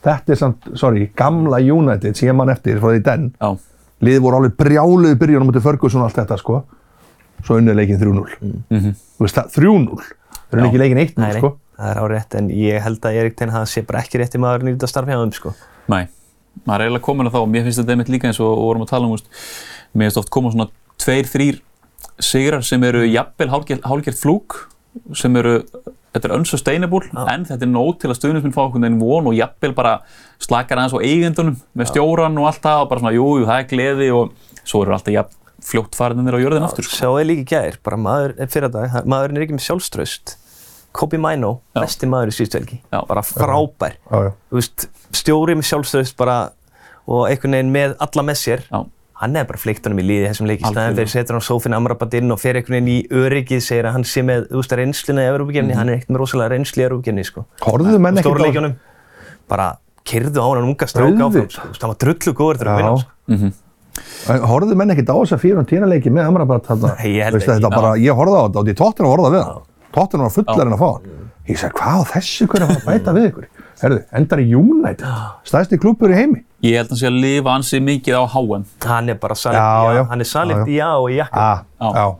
Speaker 2: þetta er samt, sorry, gamla United sem ég mann eftir frá því den.
Speaker 1: já.
Speaker 2: Liðið voru alveg brjáluð byrjunum mútið Ferguson og allt þetta, sko. Svo unnið leikinn 3-0. Þú veist það, 3-0. Það er
Speaker 1: Mhm. Já.
Speaker 2: ekki leikinn
Speaker 3: Nei,
Speaker 2: 1-0,
Speaker 3: nei,
Speaker 2: sko.
Speaker 3: það er árétt en ég held að Erik Ten Hag sé bara ekki rétti maður nýtt að starfi á þeim sko
Speaker 1: Nei, maður er eiginlega komin að þá. Mér finnst þetta einmitt líka eins og og vorum að tala um, þú veist, mér finnst oft koma svona tveir, þrýr sigrar sem eru jafnvel hálgert, hálgert flúk, sem eru, þetta er unsustainable, en þetta er nót til að stuðnismin fá okkur en von og jafnvel bara slakar aðeins á eigendunum með stjóran og allt það og bara svona, jú, jú, það er gleði og svo eru alltaf jafn fljótt farinir á jörðin aftur. sko.
Speaker 3: Sjáðu þið líka í gær, bara maður, fyrir að dag, maðurinn er ekki með sjálfströst. Kobi Mino,
Speaker 1: Já.
Speaker 3: besti maður í síðustvelgi,
Speaker 1: Já.
Speaker 3: bara frábær.
Speaker 2: Já, já.
Speaker 3: Þú veist, stjóri með sjálfströst bara og einhvern veginn með alla með sér.
Speaker 1: Já,
Speaker 3: Hann er bara fleikt honum í liði í þessum leik í staðan
Speaker 1: Algjörlega.
Speaker 3: fyrir setur hann á sófinn amrabat inn og fer einhvern veginn í öryggið, segir að hann sé með, þú veist, reynsluna í
Speaker 1: Mhm.
Speaker 3: Evrópakefni, hann er ekkert með rosalega reynslu í Evrópakefni, sko.
Speaker 2: Horfðu menn
Speaker 3: Menn
Speaker 2: ekkert á-
Speaker 3: Stórleikjunum, bara kyrðu á hann unga stráka áfram,
Speaker 2: Auðvitað.
Speaker 3: sko. Þú veist, hann var drullu góður til
Speaker 2: Já.
Speaker 3: að vinna, sko.
Speaker 2: En Horfðu menn ekkert á þess að 4-10 leiki með Amrabat þarna.
Speaker 3: Nei, ég held
Speaker 2: Veist það,
Speaker 3: ekki.
Speaker 2: þetta bara, ég horfði á þetta og því tóttina horfði við það. Tóttina var fullar en að fá hann. Ég sagði, hvað á þessu hverju að fara að
Speaker 3: Mm.
Speaker 2: bæta við ykkur? Herðu, endar í United, stæðst í klubur í heimi.
Speaker 1: ég held að hann sé að lifa ansi mikið á HM.
Speaker 3: Hann er bara
Speaker 2: Já, já.
Speaker 3: salegt, hann er
Speaker 2: Já, já.
Speaker 3: salegt í já og í jakka.
Speaker 2: Ah,
Speaker 1: Já.
Speaker 2: já.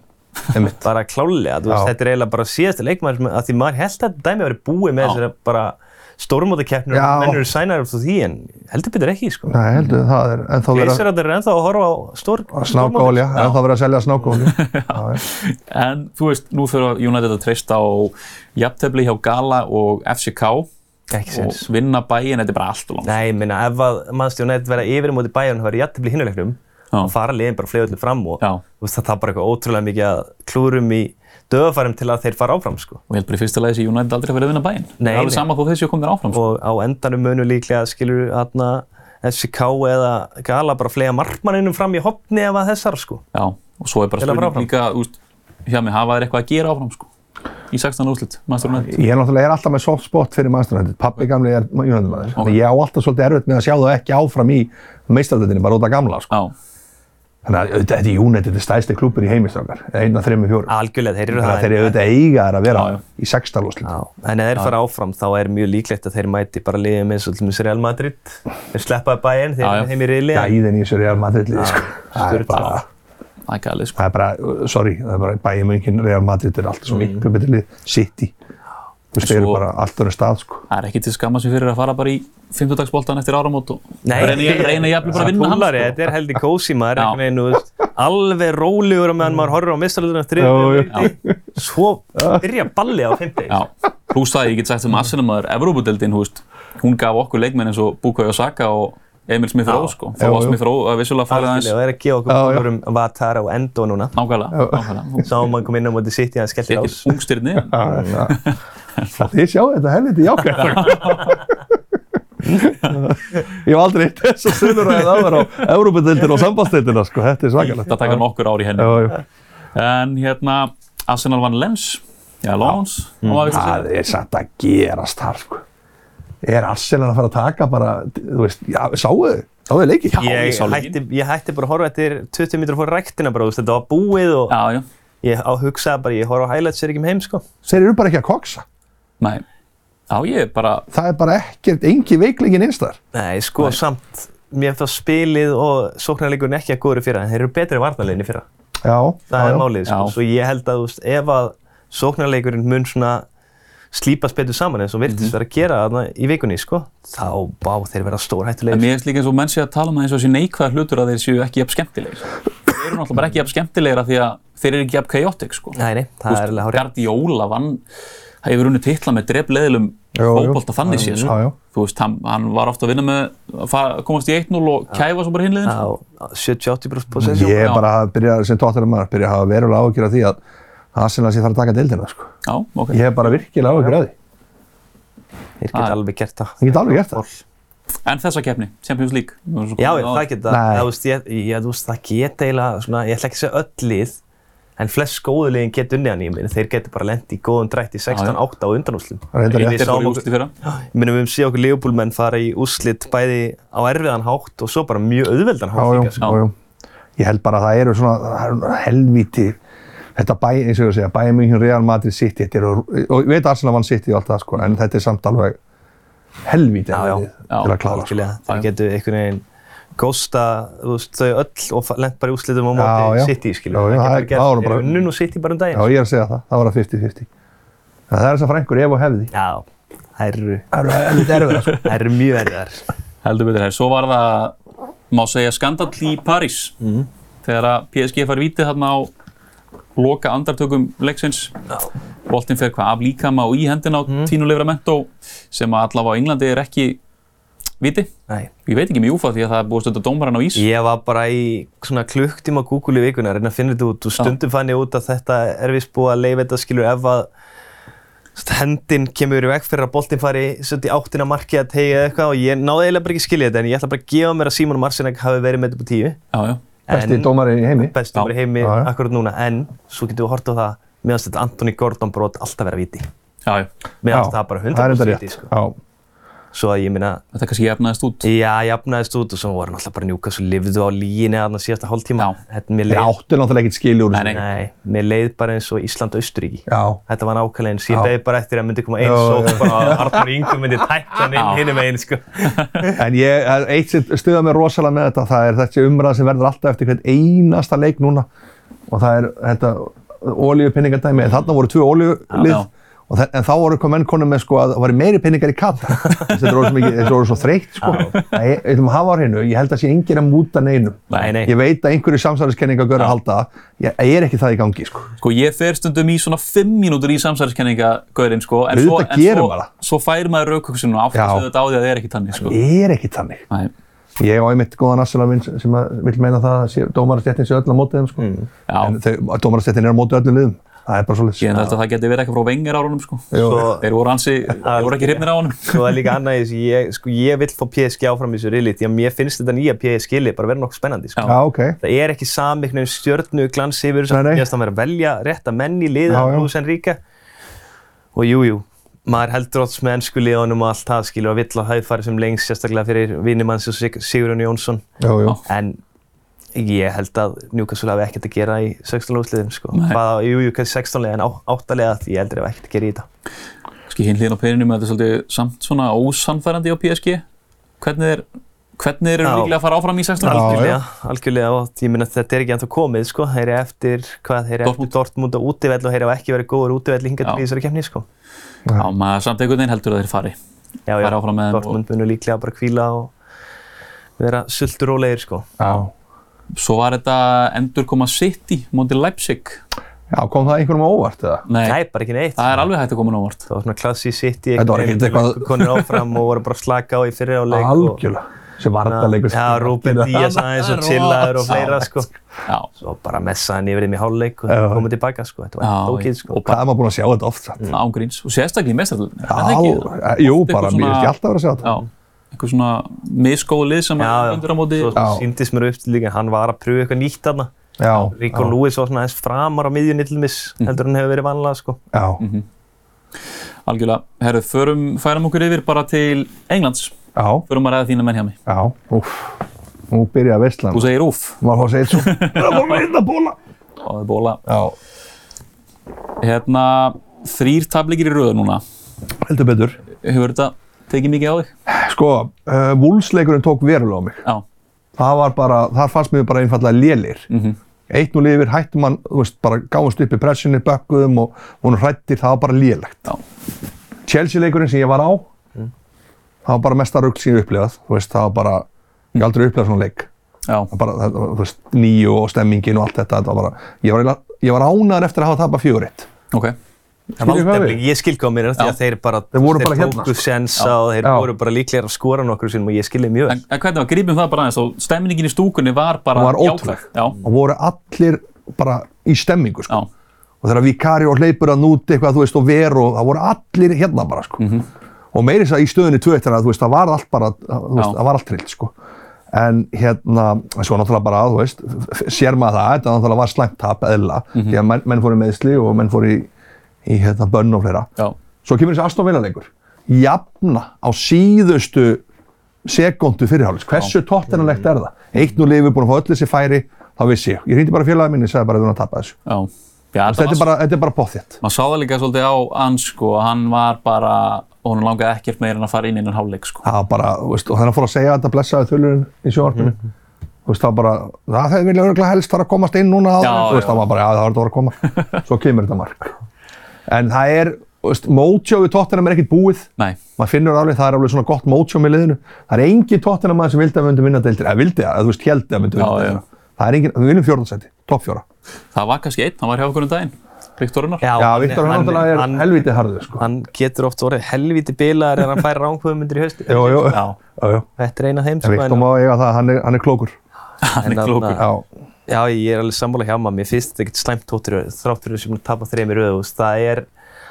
Speaker 2: Einmitt.
Speaker 3: bara klálega, þú veist,
Speaker 2: Já.
Speaker 3: þetta er eiginlega bara síðasta leikmaður sem, að því maður held að dæmi að vera búið með
Speaker 1: Já.
Speaker 3: þessari bara stórmótakeppnir
Speaker 2: Já.
Speaker 3: og menn eru sænar eftir því en heldur betur ekki, sko.
Speaker 2: Nei, heldur, það er ennþá verið að-
Speaker 3: Gleisaröndir er ennþá að horfa á stór,
Speaker 2: að snáka olja, ennþá verið að selja snáka olja. Já, já.
Speaker 1: En þú veist, nú þurfa United að treysta á jafntefli hjá Gala og FCK
Speaker 3: Ekki
Speaker 1: og
Speaker 3: sens.
Speaker 1: vinna bæin, þetta er bara allt og langt.
Speaker 3: Nei, ég minna, ef að mannstjóðan eitt vera yfir á móti bæjarinn og vera jættibli hinuleiknum
Speaker 1: Já.
Speaker 3: og fara liðin bara flegullu fram og
Speaker 1: Já.
Speaker 3: þú veist, það tapar eitthvað ótrúlega mikið að klúrum í döðafarum til að þeir fara áfram, sko.
Speaker 1: Og ég held bara í fyrsta lagi þessi United aldrei að vera að vinna bæin. það
Speaker 3: Nei,
Speaker 1: er alveg
Speaker 3: nei.
Speaker 1: sama þó þessi að koma þér áfram. sko.
Speaker 3: Og á endanum munu líklega skilur þarna FCK eða Gala bara flega markmanninum fram í hopni ef að þessar, sko.
Speaker 1: Já, og svo er bara
Speaker 3: Til að fara
Speaker 1: spurning
Speaker 3: áfram.
Speaker 1: líka, þú veist, hjá mig hafa þeir eitthvað að gera áfram, sko. í 16. úrslit, Master United.
Speaker 2: Ég er náttúrulega er alltaf með soft spot fyrir Manchester United. Pappi gamli er United maður.
Speaker 1: Ok.
Speaker 2: Okay. Ég á alltaf svolítið erfitt með að sjá það ekki áfram í meistardöldinni, bara út af gamla. Sko.
Speaker 1: Já,
Speaker 2: Þannig að auðvitað þetta er United, þetta er stæðsti klúpur í heimistrákar. Einna, þremi, fjóru.
Speaker 3: Algjörlega, þeir eru
Speaker 2: Þannig að þeir eru
Speaker 3: en-
Speaker 2: auðvitað eiga þær að vera
Speaker 1: Já, já.
Speaker 2: í sextalúslit.
Speaker 3: Já, en ef þeir fara áfram þá er mjög líklegt að þeir mæti bara liðum eins og til dæmis Real Madrid. Þeir sleppaði Bayern, þeir
Speaker 1: Já, já.
Speaker 3: eru heim í riðli. en-
Speaker 2: Gæðin í þessu Real Madrid liði, sko. Það er
Speaker 3: sturlað.
Speaker 2: bara,
Speaker 1: það er gælið, sko.
Speaker 2: það er bara, uh, sorry, það er bara bæjum enginn Real Madrid er alltaf svo miklu betur lið, City. Þú veist, þeir eru
Speaker 1: svo-
Speaker 2: bara allt öðru stað, sko.
Speaker 1: Það er ekki til skamma sem fyrir að fara bara í 50 eftir áramót og
Speaker 3: Nei.
Speaker 1: reyna, reyna jafnvel bara að vinna hann, sko.
Speaker 3: Túlari, þetta er heldur kósi maður,
Speaker 1: Já.
Speaker 3: einhvern veginn, þú veist, alveg rólegur á meðan maður horfir á mistalöðunum
Speaker 2: Mm. Já,
Speaker 3: þriðið, svo byrja balli á fymti.
Speaker 1: Já, pluss það ég get sagt sem Arsenal maður Evrópudeldin, hú veist, hún gaf okkur leikmenn eins og Bukayo Saka og Emil Smith-Rowe,
Speaker 3: Já.
Speaker 1: sko. Þá
Speaker 2: Jú,
Speaker 1: var
Speaker 2: jú.
Speaker 1: Smith-Rowe að vissulega farið aðeins
Speaker 3: Algjörlega, það er að gefa okkur
Speaker 2: Já, já.
Speaker 3: bólur um Vatara og Endo núna.
Speaker 1: nákvæmlega, nákvæmlega.
Speaker 3: Sáum hann kom inn á móti City, hann skellti
Speaker 1: Hún-
Speaker 3: ás.
Speaker 1: Ekki ungstyrni,
Speaker 2: Þið sjáu þetta helviti jákvæmt. ég hef aldrei hitt þess að sölur að það var á Európa-deildina og sambandsdeildina, sko. Þetta er svakalegt.
Speaker 1: það taka nokkur ár í henni.
Speaker 2: Já, já.
Speaker 1: En hérna, Arsenal vann Lens, já, Lons,
Speaker 3: Mm.
Speaker 1: og maður veist að segja.
Speaker 2: Það er satt að gerast þar, sko. Er Arsenal að fara að taka bara, þú veist, já, sáu þau? Sáu þau leiki?
Speaker 3: Ég
Speaker 1: sá leikinn.
Speaker 3: hætti, ég hætti bara að horfa eftir 20 mítur fór ræktina bara, þú veist, þetta var búið og
Speaker 1: Já, já,
Speaker 3: ég á hugsaði bara, ég horfa á highlights er ekki með heim, sko.
Speaker 2: Þeir eru bara ekki að koksa.
Speaker 1: nei. Já, ég er bara,
Speaker 2: Það er bara ekkert, engi veiklingin einstar.
Speaker 3: Nei, sko, samt, mér finnst það spilið og sóknarleikurinn ekki að góður fyrir það, þeir eru betri varnarleginni fyrir það.
Speaker 2: Já,
Speaker 3: Það
Speaker 2: já,
Speaker 3: er
Speaker 2: já.
Speaker 3: málið,
Speaker 1: Já.
Speaker 3: sko. Svo ég held að, þú veist, ef að sóknarleikurinn mun svona slípast betur saman eins og virtist vera að gera þarna í vikunni, sko, Mhm. þá bá þeir vera
Speaker 1: en
Speaker 3: stórhættulegir.
Speaker 1: mér finnst líka eins og menn sé að tala um það eins og þessi neikvæða hlutur að þeir séu ekki jafn skemmtilegir. Þeir eru náttúrulega bara ekki jafn skemmtilegir af því að þeir eru ekki jafn chaotic, sko.
Speaker 3: Nei, nei, það er alveg hárið.
Speaker 1: Gardiola vann, það hefur unni titla með drefleðilum
Speaker 2: Jú, jú.
Speaker 1: fókbalta þannig séð,
Speaker 2: Já, já.
Speaker 1: sko. Þú veist, hann, hann var ofta að vinna með, að fara- komast í 1-0 og kæfa svo bara hinliðin, sko.
Speaker 3: á 70-80% possession
Speaker 2: Ég er
Speaker 1: Já.
Speaker 2: bara að byrja, sem tóttirinn maður, byrja að hafa verulega áhyggjur af því að Arsenal sé að fara að taka deildina, sko.
Speaker 1: Já, ok.
Speaker 2: Ég hef bara virkilega áhyggjur af því.
Speaker 3: Þeir
Speaker 1: Já.
Speaker 3: geta alveg gert það.
Speaker 2: Ég get alveg gert það.
Speaker 1: En þessa keppni, Champions League. Nú erum við svo
Speaker 3: Já,
Speaker 1: komin
Speaker 3: ég,
Speaker 1: á-
Speaker 3: það geta,
Speaker 2: Nei.
Speaker 3: það, veist, ég, ég, þú veist, það geta eiginlega, svona, ég ætla ekki að segja öll lið, en flest góðu liðin geta unnið hann, ég meina, þeir geta bara lent í góðum drætt í 16,
Speaker 1: Já, já.
Speaker 3: 8 og undanúslim.
Speaker 2: Reyndar
Speaker 1: Þeir
Speaker 2: rétt.
Speaker 1: fóru í
Speaker 3: sáum okkur-
Speaker 1: úrslit í fyrra.
Speaker 3: Ég meina, við höfum séð okkur liðbúlmenn fara í úslit bæði á erfiðan hátt og svo bara mjög auðveldan hátt
Speaker 2: Já,
Speaker 3: líka, sko.
Speaker 2: já, já, já. Ég held bara að það eru svona það eru helvíti þetta bæ, eins og ég segja, Bayern München, Real Madrid, City þetta eru, og ég veit að Arsenal vann City og allt það sko, en þetta er samt alveg helvíti
Speaker 3: Já, já.
Speaker 2: erfiðið til að klára sko.
Speaker 3: algjörlega.
Speaker 1: Já, já.
Speaker 3: Þeir geta einhvern veginn gósta, þú veist, þau öll og fa- lent bara í úslitum á
Speaker 2: Já,
Speaker 3: móti
Speaker 2: já.
Speaker 3: City,
Speaker 2: Já,
Speaker 3: skiljum.
Speaker 2: já, það er- það voru
Speaker 3: bara...
Speaker 2: bara-
Speaker 3: Þeir unnun og City bara um
Speaker 2: Já,
Speaker 3: daginn.
Speaker 2: ég er að segja það, það var að 50-50 En það er þess að frængur ef og hefði
Speaker 3: Já, það eru,
Speaker 2: Það eru helvíti erfiðar sko.
Speaker 3: það eru mjög erfiðar.
Speaker 1: Heldur betur hér. Svo var það, má segja, skandall í París.
Speaker 2: Mhm.
Speaker 1: Þegar að PSG fær vítið þarna á loka andartökum leiksins. Boltinn fer hvað af líkama og í hendina á
Speaker 2: Mhm.
Speaker 1: mm. Tino Livramento sem að allavega á Englandi er ekki viti.
Speaker 3: Nei.
Speaker 1: Ég veit ekki mjög úfa því að það er búið að stönda dómarann á ís.
Speaker 3: Ég var bara í svona klukktíma Google í vikuna að reyna að finna þetta út og stundum fann ég út að þetta er vist búið að leifa þetta skilur ef að st- hendin kemur í veg fyrir að boltinn fari svolítið í áttina að markið að tegja eða eitthvað og ég náði eiginlega bara ekki að skilja þetta en ég ætla bara að gefa mér að Simon Marsinek hafi verið með þetta upp á tíu
Speaker 1: Já, já.
Speaker 2: Besti dómari í heimi
Speaker 3: besti dómar í heimi
Speaker 2: Já, já.
Speaker 3: akkurat núna en svo getum við hort á það meðan þetta Anthony Gordon brot alltaf vera viti
Speaker 1: Já, já.
Speaker 2: Já,
Speaker 3: meðan það bara
Speaker 2: það er
Speaker 3: 100%
Speaker 2: reyndar
Speaker 3: viti
Speaker 2: rétt.
Speaker 3: sko.
Speaker 2: Já,
Speaker 3: svo að ég minna
Speaker 1: Þetta kannski jafnaðist út.
Speaker 3: Já, jafnaðist út og svo voru náttúrulega bara njúka svo lifðu á líginni að þannig síðasta hálftíma.
Speaker 1: Já.
Speaker 3: Þetta mér
Speaker 2: Þeir
Speaker 3: leið
Speaker 2: áttu náttúrulega ekkert skilja úr
Speaker 1: Nei, nei.
Speaker 2: þessu.
Speaker 3: Nei, mér leið bara eins og Ísland-Austuríki.
Speaker 2: Já,
Speaker 3: Þetta var nákvæmlega eins. Ég
Speaker 2: Já.
Speaker 3: beði bara eftir að myndi koma eins
Speaker 2: Já,
Speaker 3: og
Speaker 2: já.
Speaker 3: bara Arnar Ingu myndi tækla hann inn
Speaker 1: Já.
Speaker 3: hinum einn, sko.
Speaker 2: En ég, það er eitt sem stuða mér rosalega með þetta, það er þessi umræða sem verður alltaf eftir hvern einasta leik núna og það er þetta ólíupinningardæmi, en þarna voru tvö ólíulið
Speaker 1: Já.
Speaker 2: og þe- en þá voru kom menn konum með sko að það væri meiri pinningar í kata þetta voru svo, mikið, þetta voru svo þreytt sko Það er- við ætlum að hafa á hreinu, ég held að sé enginn að múta neinum
Speaker 3: Nei, nei.
Speaker 2: ég veit að einhverju samsæðiskenninga görur að halda, ég, ég er ekki það í gangi sko
Speaker 1: Sko ég fer stundum í svona 5 mínútur í samsæðiskenningagöðurinn sko, en, svo,
Speaker 2: Auðvitað
Speaker 1: en
Speaker 2: gerum
Speaker 1: svo,
Speaker 2: maður það.
Speaker 1: svo fær maður rauköksinu og
Speaker 2: Já.
Speaker 1: áfæðast auðvitað á því að það er ekki tannig sko.
Speaker 2: ég er ekki þannig
Speaker 1: Nei,
Speaker 2: Ég á einmitt góðan assalaminn sem að vil meina það að sé- dómarastjættin sé öll á mótið þeim sko.
Speaker 3: Mm.
Speaker 1: Já.
Speaker 2: En þau- dómarastjættin er á mótið öllum liðum. Það er bara
Speaker 1: ég held
Speaker 2: svolítið.
Speaker 1: að það geti verið eitthvað frá vengir árunum sko.
Speaker 3: Svo,
Speaker 1: Þeir voru ansi, þeir voru ekki hrifnir á honum.
Speaker 3: svo er líka annað í þessu, ég, sko, ég vil fá PSG áfram í þessu rili, því að mér finnst þetta nýja PSG-lið bara vera nokkuð spennandi, sko.
Speaker 1: Já.
Speaker 2: Já, ok.
Speaker 3: Það er ekki samiknum stjörnuglans yfir þessu,
Speaker 2: Nei, nei.
Speaker 3: ég finnst að vera að velja rétta menn í
Speaker 2: Já, já.
Speaker 3: liða, Lúis Enríka. og jú, jú, maður heldur oft með ennsku liðunum og allt það skilur að vill að það fari sem lengst sérstaklega fyrir vinnimann sem Sig Sigurjón Jónsson
Speaker 2: Jú, jú.
Speaker 3: en ég held að Newcastle hafi ekkert að gera í 16 lúsliðin sko.
Speaker 1: Nei.
Speaker 3: Bara, jú, jú, kannski 16 liða en 8 liða ég heldur að ekkert að gera í þetta
Speaker 1: kannski hinn hliðin á perinu með þetta er svolítið samt svona ósannfærandi á PSG hvernig er hvernig eru
Speaker 3: Já.
Speaker 1: líklega að fara áfram í 16
Speaker 2: Já.
Speaker 3: Algjörlega, algjörlega og ég minna þetta er ekki ennþá komið sko, þeir eru eftir, hvað, þeir eru eftir
Speaker 1: Dortmund.
Speaker 3: Dortmund á útivell og þeir hafa ekki verið góður útivell hingað
Speaker 1: Já.
Speaker 3: til í þessari kemni sko.
Speaker 1: Já, maður samt einhvern veginn heldur að þeir fari
Speaker 3: Já, já,
Speaker 1: Fara áfram með þeim
Speaker 3: Dortmund munur líklega bara kvíla og vera sulturólegir sko.
Speaker 2: Já.
Speaker 1: svo var þetta endurkoma City móti Leipzig
Speaker 2: Já, kom það einhverjum á óvart eða?
Speaker 3: Það
Speaker 1: Nei,
Speaker 3: er bara ekki neitt.
Speaker 1: það er alveg hægt að koma nóg vart
Speaker 3: Það var svona klassi sitt í
Speaker 2: Þetta var ekkert eitthvað-
Speaker 3: konur áfram og voru bara að slaka á í fyrir áleik.
Speaker 2: Algjörlega. Sem varnarleikur.
Speaker 3: Já, Rúben Díaz aðeins og Chillaður og fleira sko.
Speaker 1: Já,
Speaker 3: Svo bara messa hann yfir þeim í hálfleik og
Speaker 2: Já.
Speaker 3: þeir komið tilbaka sko. Þetta var
Speaker 1: Já,
Speaker 3: ekkert ókýð sko.
Speaker 1: og
Speaker 2: Hvað er maður búin að sjá þetta oft? samt?
Speaker 3: Mm. Hmm.
Speaker 1: ángríns og sérstaklega í mestarlunni
Speaker 2: Já, eh, jú, bara, mér finnst ég alltaf að vera að sjá þetta.
Speaker 1: Já, eitthvað svona misgóðu lið sem er undir á móti
Speaker 3: svo
Speaker 2: Já.
Speaker 3: síndist mér upp til líka, hann var að pröfa eitthvað nýtt þarna.
Speaker 2: Já,
Speaker 3: Rico Lewis var svona aðeins framar á miðjunni til mis,
Speaker 1: Mm.
Speaker 3: heldur en hefur verið vanlega sko.
Speaker 2: já.
Speaker 1: Mhm. algjörlega, herru, förum, færum okkur yfir bara til Englands,
Speaker 2: Já,
Speaker 1: förum að ræða þína menn hjá mig
Speaker 2: já. Úf. Nú byrjaði veistlan.
Speaker 1: þú segir úf,
Speaker 2: Maður hósa eitt svo. Það var með þetta bóla.
Speaker 1: og það er bóla
Speaker 2: Já,
Speaker 1: hérna, þrýr tablikir í röðu núna
Speaker 2: heldur betur.
Speaker 1: hefur þetta tekið mikið á þig?
Speaker 2: Sko, uh, vúlsleikurinn tók verulega á mig.
Speaker 1: Já,
Speaker 2: það var bara, þar fannst mér bara einfallega lélir. Mm
Speaker 1: Mhm.
Speaker 2: -hmm. Eitt nú lifir, hættum hann, þú veist, bara gáðumst upp í pressunni, bökkuðum og hún hrættir, það var bara lélegt.
Speaker 1: Já.
Speaker 2: Chelsea-leikurinn sem ég var á,
Speaker 1: Mm.
Speaker 2: það var bara mesta rugl sem ég hef upplifað, þú veist, það var bara, ég hef aldrei upplifað svona leik.
Speaker 1: já,
Speaker 2: Það var bara, það, var, þú veist, nýju og stemmingin og allt þetta, þetta var bara, ég var, eiginlega- ég var ánaður eftir að hafa tapað fjóritt.
Speaker 1: ok
Speaker 3: En
Speaker 2: Skilur hvað
Speaker 3: valdefling,
Speaker 2: við?
Speaker 3: ég skil hvað mér er því að þeir bara,
Speaker 2: Þeir voru bara hérna, sko.
Speaker 3: tóku sensa og þeir
Speaker 2: Já.
Speaker 3: voru bara líklegir að skora nokkru sinum og ég skilði mjög
Speaker 1: En,
Speaker 3: vel.
Speaker 1: en hvernig var, grípum það bara aðeins og stemningin í stúkunni var bara
Speaker 2: Hún var
Speaker 1: jákvæð.
Speaker 2: ótrúleg.
Speaker 1: Já,
Speaker 2: Og voru allir bara í stemmingu, sko.
Speaker 1: já,
Speaker 2: og þegar vikari og hleypur að núti eitthvað, þú veist, og veru og það voru allir hérna bara, sko.
Speaker 1: Mhm.
Speaker 2: Og meiri þess að í stöðunni tvöitt þannig að, þú veist, það var allt bara, þú veist,
Speaker 1: Já.
Speaker 2: það var allt trillt, sko. En hérna, svo náttúrulega bara, þú veist, f- sér maður það, þetta náttúrulega var slæmt tap eðla,
Speaker 1: Mhm.
Speaker 2: því að menn, menn fóru í meðsli og menn fóru í, í hérna, bönn og fleira.
Speaker 1: já,
Speaker 2: Svo kemur þessi Aston Villa leikur, jafna á síðustu sekundu fyrirhális. Hversu tottenanlegt er það? Eitt nú lifi búin að fá öll þessi færi, þá vissi ég. Ég hringdi bara félagið minni og sagði bara að við erum að tapa þessu.
Speaker 1: já. já þetta
Speaker 2: Þetta
Speaker 1: var
Speaker 2: er bara, þetta er bara potthjætt.
Speaker 1: maður sá það líka svolítið á hans sko, að hann var bara, og hann langaði ekkert meira en að fara inn innan hálfleik sko.
Speaker 2: það var bara, þú veist, og þannig að fór að segja þetta blessaði þulurinn í sjónvarpinu þú veist, það var bara, það hefði vilja örgulega helst fara að komast inn núna,
Speaker 1: Já,
Speaker 2: áður." þú veist,
Speaker 1: já.
Speaker 2: það var bara, já, það var þetta að koma svo kemur þetta mark en það er, þú veist, mótjó við tóttina er ekkert búið,
Speaker 1: Nei,
Speaker 2: maður finnur alveg það er alveg svona gott mótjó með liðinu, það er engin tóttina maður sem vildi að við myndum vinna deildir, eða vildi að, þú veist, held að myndum
Speaker 1: Já, já.
Speaker 2: vinna deildir það er engin, við viljum fjórðarsæti, topp fjóra
Speaker 1: það var kannski einn, hann var hjá okkur um daginn, Viktorunar.
Speaker 2: já, Viktor hann náttúrulega er
Speaker 3: hann,
Speaker 2: helvítið harður, sko
Speaker 3: hann getur oft orðið helviti bilaðar en hann fær ránkvöðmyndir í haustu.
Speaker 2: Jú, jú. Já, já.
Speaker 3: Þetta er eina þeim
Speaker 2: En
Speaker 3: sko.
Speaker 2: Viktor má eiga það, hann er- hann er klókur.
Speaker 1: hann er
Speaker 3: en
Speaker 1: klókur.
Speaker 3: þarna-
Speaker 2: Já,
Speaker 3: Já, ég er alveg sammála hjá maður. Mér finnst þetta ekkert slæmt tóttir röð, þrátt fyrir sem hann tapa þrejum í röð. þú veist, Það er,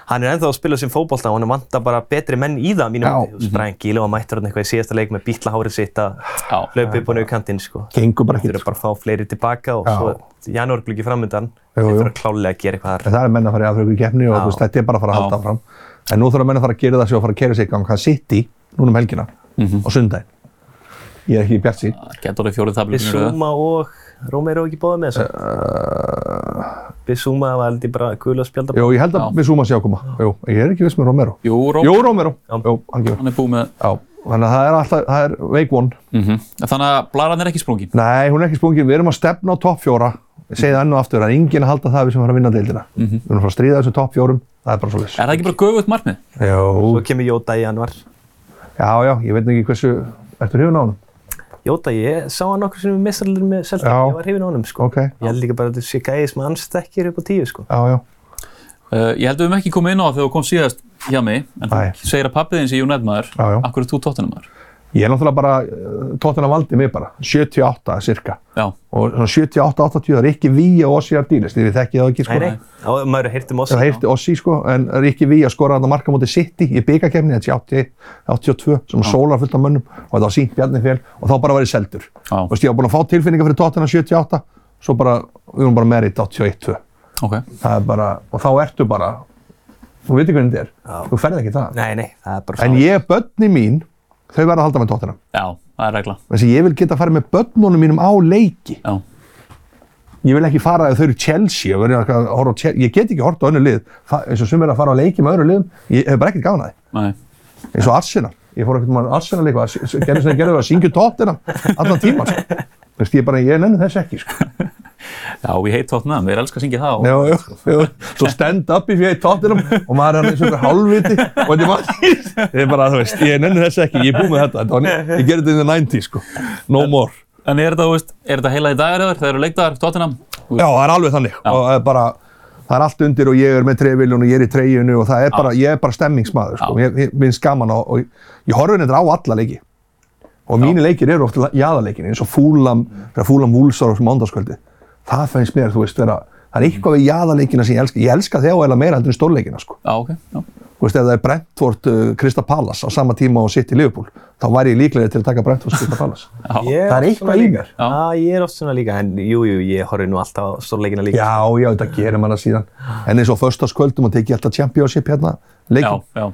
Speaker 3: hann er ennþá að spila sem fótbolta og hann vantar bara betri menn í það að mínu
Speaker 2: Já. mhm.
Speaker 3: myndi. Bræn Gílu var mættur hann eitthvað í síðasta leik með býtla hárið sitt að
Speaker 1: Já.
Speaker 3: hlaupa upp og niður kantinn, sko.
Speaker 2: gengur bara
Speaker 3: Þeir
Speaker 2: ekki,
Speaker 3: eru bara að fá fleiri tilbaka og
Speaker 2: Já.
Speaker 3: svo janúarglöggi framöndan.
Speaker 2: Jú,
Speaker 3: Þeir
Speaker 2: jú.
Speaker 3: þurfa klálega að gera eitthvað
Speaker 2: En
Speaker 3: þar.
Speaker 2: það er menn að fara í Afríku keppni og
Speaker 3: Já.
Speaker 2: þú veist, þetta er bara að fara að halda
Speaker 1: Já.
Speaker 2: fram. En nú þurfa menn að fara að gera það sér og fara að kera sig í gang. Það sitt í núna um helgina
Speaker 1: Mhm.
Speaker 2: á sundaginn. Ég er ekki í bjart sín.
Speaker 1: Gæti orðið fjórið tablið.
Speaker 3: Bissúma og Rómeiro ekki bóðið með þessu. Bissúma var aldrei bara gula spjald að
Speaker 2: Uh, Jú, ég held að
Speaker 1: Já.
Speaker 2: við súma sér að koma. Jú, ég er ekki viss með Romero.
Speaker 1: Jú, Ró,
Speaker 2: Jú, Romero.
Speaker 3: Já.
Speaker 2: Jú, hann gefur.
Speaker 1: hann er búið með.
Speaker 2: Já. Þannig að það er alltaf, það er veik von.
Speaker 1: Mm Þannig að blaran er ekki sprungin.
Speaker 2: Nei, hún er ekki sprungin. Við erum að stefna á topp fjóra. Ég segi það enn og aftur, en enginn að halda það að við sem fara að vinna deildina.
Speaker 1: Mhm.
Speaker 2: Við erum að fara að stríða þessum topp fjórum. Það er bara svo
Speaker 1: Er það ekki bara göfugt markmið?
Speaker 3: Svo kemur Jóta í januar.
Speaker 2: Já, já, ég veit ekki hversu, ertu hrifin á honum?
Speaker 3: Jóta, ég sá hann okkur sem við mestarlir með Celtic.
Speaker 2: Já.
Speaker 3: Ég var hrifin á honum, sko.
Speaker 2: Ok.
Speaker 3: Ég held líka bara að þetta sé gæði sem hann stekkir upp á tíu sko.
Speaker 2: Já, já.
Speaker 1: Uh, ég held að við höfum ekki komið inn á það þegar þú kom síðast hjá mig, en þú
Speaker 2: Nei.
Speaker 1: segir að pappið þinn sé United maður,
Speaker 2: Já, já.
Speaker 1: akkur er þú tóttunum maður?
Speaker 2: Ég er náttúrulega bara, tóttina valdi mig bara, 78 cirka.
Speaker 1: Já,
Speaker 2: Og svona 78-80, það er ekki Vía og Ossi Ardílis, því við þekkið það ekki sko.
Speaker 3: Nei, nei, Á, maður hefði um oss.
Speaker 2: Það heyrti Ossi sko, en það er ekki Vía skoraði þarna marka móti City í byggakefni, þetta er 81, 82, sem sólar fullt af mönnum og þetta var sínt Bjarni fél og þá bara var ég seldur.
Speaker 1: Já.
Speaker 2: Þú veist, ég var búin að fá tilfinningar fyrir tóttina 78, svo bara, við vorum bara merit 81-2.
Speaker 1: ok.
Speaker 2: Það er bara, og þá ertu bara Þú veitir hvernig þetta er.
Speaker 3: Já.
Speaker 2: Þú ferð ekki það.
Speaker 3: Nei, nei, það er bara
Speaker 2: En ég, börni mín, þau verða að halda með tóttina.
Speaker 1: Já, það er regla.
Speaker 2: Þannig að ég vil geta að fara með börnunum mínum á leiki.
Speaker 1: Já.
Speaker 2: Ég vil ekki fara að þau eru Chelsea og verða að horfa á Chelsea. Ég get ekki horft á önnu lið, Fa- eins og sem er að fara á leiki með öðru liðum. Ég hef bara ekkert gafan að þið.
Speaker 1: Nei.
Speaker 2: Eins og Arsenal. Ég fór ekkert mann Arsenal leik og að s- s- gerðu sem það gerðu að syngja tóttina allan tíma. Sko. Þú veist, ég bara, ég nenni þess ekki, sko.
Speaker 1: Já, ég heit tóttnum, við erum elskar að syngja það.
Speaker 2: Já, já, já. Svo stand up í fyrir tóttinum og maður er hann eins og einhver hálfviti og þetta er maður. Ég er bara, þú veist, ég nenni þess ekki, ég er búið með þetta. þetta var, ný- ég gerði þetta in the 90s, sko. No more.
Speaker 1: En er þetta, þú veist, er þetta heila í dagar eða það eru leikdagar, tóttinam?
Speaker 2: Já, það er alveg þannig.
Speaker 1: Já.
Speaker 2: Og það er bara, það er allt undir og ég er með trefilun og ég er í treyjunu og það er bara, ég er bara stemmingsmaður, sko.
Speaker 1: Já.
Speaker 2: Ég, ég minnst gaman á, og ég, ég horfði þetta á alla leiki. Og mínir leikir eru ofta jaðarleikin, eins og fúlam, þegar fúlam vúlsar á mándagskvöldi. Það fennst mér, þú veist, vera, það er eitthvað við jaðarleikina sem ég elska. Ég elska þjá eða meira heldur en stórleikina, sko.
Speaker 1: Já, ok. Já.
Speaker 2: Þú veist, ef það er Brentford uh, Krista Palace á sama tíma og sitt í Liverpool, þá væri ég líklegri til að taka Brentford Krista Palace.
Speaker 1: Já.
Speaker 3: Ég
Speaker 2: það er
Speaker 3: oft
Speaker 2: eitthvað
Speaker 3: svona
Speaker 2: í
Speaker 3: líka.
Speaker 2: mér.
Speaker 1: Já.
Speaker 3: Já, ég er oft svona líka, en jú, jú, ég horfi nú alltaf á stórleikina líka.
Speaker 2: Já, já, þetta gerir maður það síðan. En eins og föstaskvöldum og tekið alltaf championship hérna,
Speaker 1: Já,
Speaker 2: leikin.
Speaker 1: já.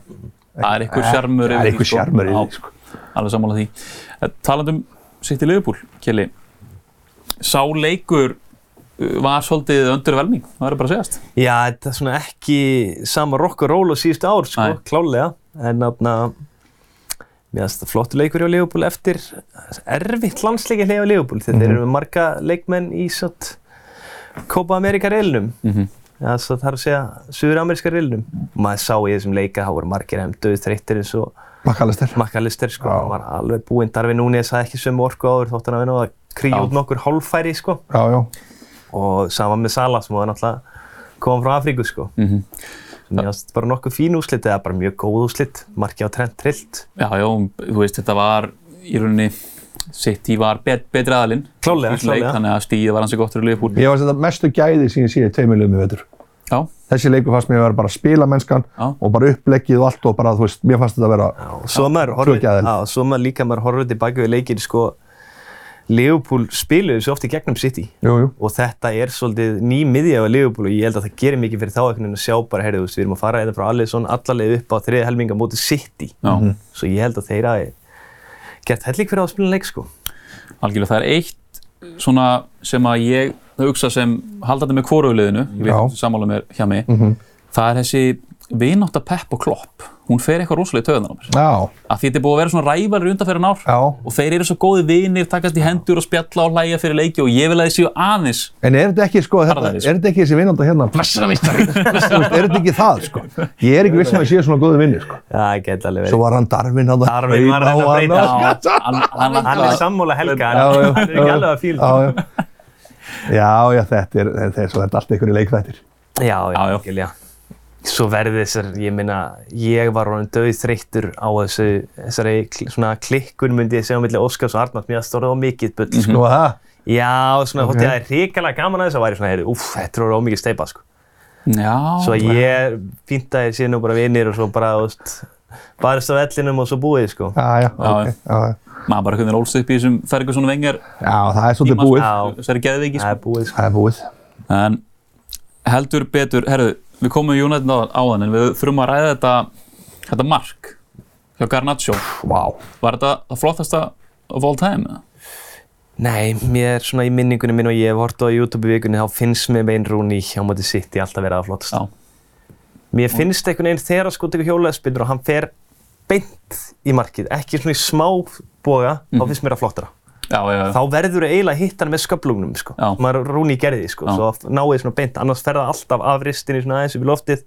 Speaker 1: Það er einhver sjarmur
Speaker 2: Það er einhver sjarmur í því,
Speaker 1: sko. Já, Alveg sammála því. Eh, Talandi um sitt í Liverpool, Kelly. Sá leikur uh, var svolítið öndur velming, það er bara að segjast.
Speaker 3: Já, þetta er svona ekki sama rock and roll og síðustu ár, sko,
Speaker 1: Nei.
Speaker 3: klálega. En þarna, mér finnst þetta flottu leikur hjá Leopold eftir erfitt landsleikið hjá Leopold. Þeir
Speaker 1: Mhm.
Speaker 3: eru með marga leikmenn í svona Copa America reilnum.
Speaker 1: Mhm.
Speaker 3: Já, svo þarf að segja Suður-Ameríska reilnum. Maður sá í þessum leika, þá voru margir hefum döðþreyttir eins og
Speaker 2: Makkalister.
Speaker 3: makkalister, sko.
Speaker 2: Já.
Speaker 3: Hann var alveg búinn. Darfi Núnes hafði ekki sömu orku áður þótt hann að vinna og að
Speaker 1: Já.
Speaker 3: kríja út nokkur hálffæri, sko.
Speaker 2: Já, já.
Speaker 3: og sama með Salah sem var náttúrulega kom frá Afríku sko
Speaker 1: Mhm.
Speaker 3: sem ég ást bara nokkuð fín úslit eða bara mjög góð úslit markið á trend trillt
Speaker 1: Já, já, þú veist, þetta var í rauninni, sitt í var bet, betri aðalinn. Í
Speaker 3: Klárlega,
Speaker 1: leik,
Speaker 3: klárlega.
Speaker 1: Þannig að stíðið var hansi gott fyrir Liverpool.
Speaker 2: Ég var sem þetta mestu gæði síðan síðan tveimilegum í vetur.
Speaker 1: Já,
Speaker 2: Þessi leikur fannst mér að vera bara spila mennskan
Speaker 1: Já.
Speaker 2: og bara uppleggið og allt og bara, þú veist, mér fannst þetta að vera...
Speaker 3: og svo maður horfir
Speaker 2: Tvö gæðil.
Speaker 3: á, svo maður líka maður horfir tilbaka við leikir sko Leopold spiluðu svo oft í gegnum City
Speaker 2: Jú, jú.
Speaker 3: og þetta er svolítið ný miðja á Leopold og ég held að það gerir mikið fyrir þá einhvern veginn að sjá bara heyrðu þú veist við erum að fara eða frá Alisson allarleið upp á þriði helminga móti City Mhm.
Speaker 1: já,
Speaker 3: svo ég held að þeir hafi gert helling fyrir að spila leik sko
Speaker 1: algjörlega. Það er eitt svona sem að ég hugsa sem haldandi með kvoröfuliðinu, ég veit
Speaker 2: Já.
Speaker 1: að sammála mér hjá mig,
Speaker 3: Mhm.
Speaker 1: það er þessi vinátt að Pep og Klopp, hún fer eitthvað rosalega í töðan á mér.
Speaker 2: Já,
Speaker 1: Af því þetta er búið að vera svona rævalir undanferðin ár
Speaker 2: já.
Speaker 1: og þeir eru svo góði vinir, takast í hendur og spjalla og hlæja fyrir leiki og ég vil að þeir séu aðeins
Speaker 2: En er þetta ekki, sko, þetta,
Speaker 1: Harðari, sko.
Speaker 2: er þetta ekki þessi vinanda hérna? Messamistari! er þetta ekki það, sko? Ég er ekki viss um að ég sé svona góðu vinni, sko.
Speaker 3: það geti alveg verið
Speaker 2: Svo var hann Darvin að
Speaker 3: Darwin var að reyna að breyta.
Speaker 1: Já, hann, hann,
Speaker 3: hann er sammála Helga,
Speaker 2: Já, já,
Speaker 3: hann hann er ekki
Speaker 2: já,
Speaker 3: alveg að fíla
Speaker 2: já, já. já, já, þetta er, þetta er, svo þetta er allt einhverju leikþættir.
Speaker 3: Já, já,
Speaker 1: Já, já.
Speaker 3: algjörlega. Svo verði þessar, ég minna, ég var orðin döð þreyttur á þessu, þessari kl- svona klikkun myndi ég segja á milli Óskars og Arnars, mér aðstóra á mikið bull, sko.
Speaker 2: Nú að það?
Speaker 3: Já, svona, þótti það er hrikalega gaman að þessu, væri svona, heyrðu, úff, þetta voru ómikið steipa, sko.
Speaker 1: já,
Speaker 3: Svo ég fínt að þeir séu nú bara vinir og svo bara, þú veist, barist á vellinum og svo búið, sko.
Speaker 2: Já, já, ok.
Speaker 1: já.
Speaker 2: Já, já.
Speaker 1: maður bara hvernig ólst upp í þessum Ferguson og Wenger
Speaker 2: já, það er svolítið
Speaker 1: tíma,
Speaker 2: búið.
Speaker 1: sko, þessari geðveiki sko.
Speaker 3: Það er búið, sko.
Speaker 2: Það er búið.
Speaker 1: en heldur betur, herðu, við komum í United á- áðan en við þurfum að ræða þetta þetta mark hjá Garnaccio
Speaker 2: Vá.
Speaker 1: var þetta það flottasta of all time? eða?
Speaker 3: Nei, mér, svona í minningunni minn og ég hef hort á YouTube í vikunni, þá finnst mér Wayne Rooney hjá móti City alltaf vera að flottast.
Speaker 1: Já,
Speaker 3: Mér finnst einhvern veginn þegar að sko tekur hjólaðspinnur og hann fer beint í markið, ekki svona í smá boga,
Speaker 2: Mhm.
Speaker 3: þá finnst mér að flottara.
Speaker 1: já, já, já.
Speaker 3: Þá verður þú eiginlega að hitta hann með sköflungnum, sko.
Speaker 1: Já.
Speaker 3: Maður rúni í gerði, sko,
Speaker 1: Já.
Speaker 3: svo að náið svona beint, annars fer það alltaf af ristinni svona aðeins upp í loftið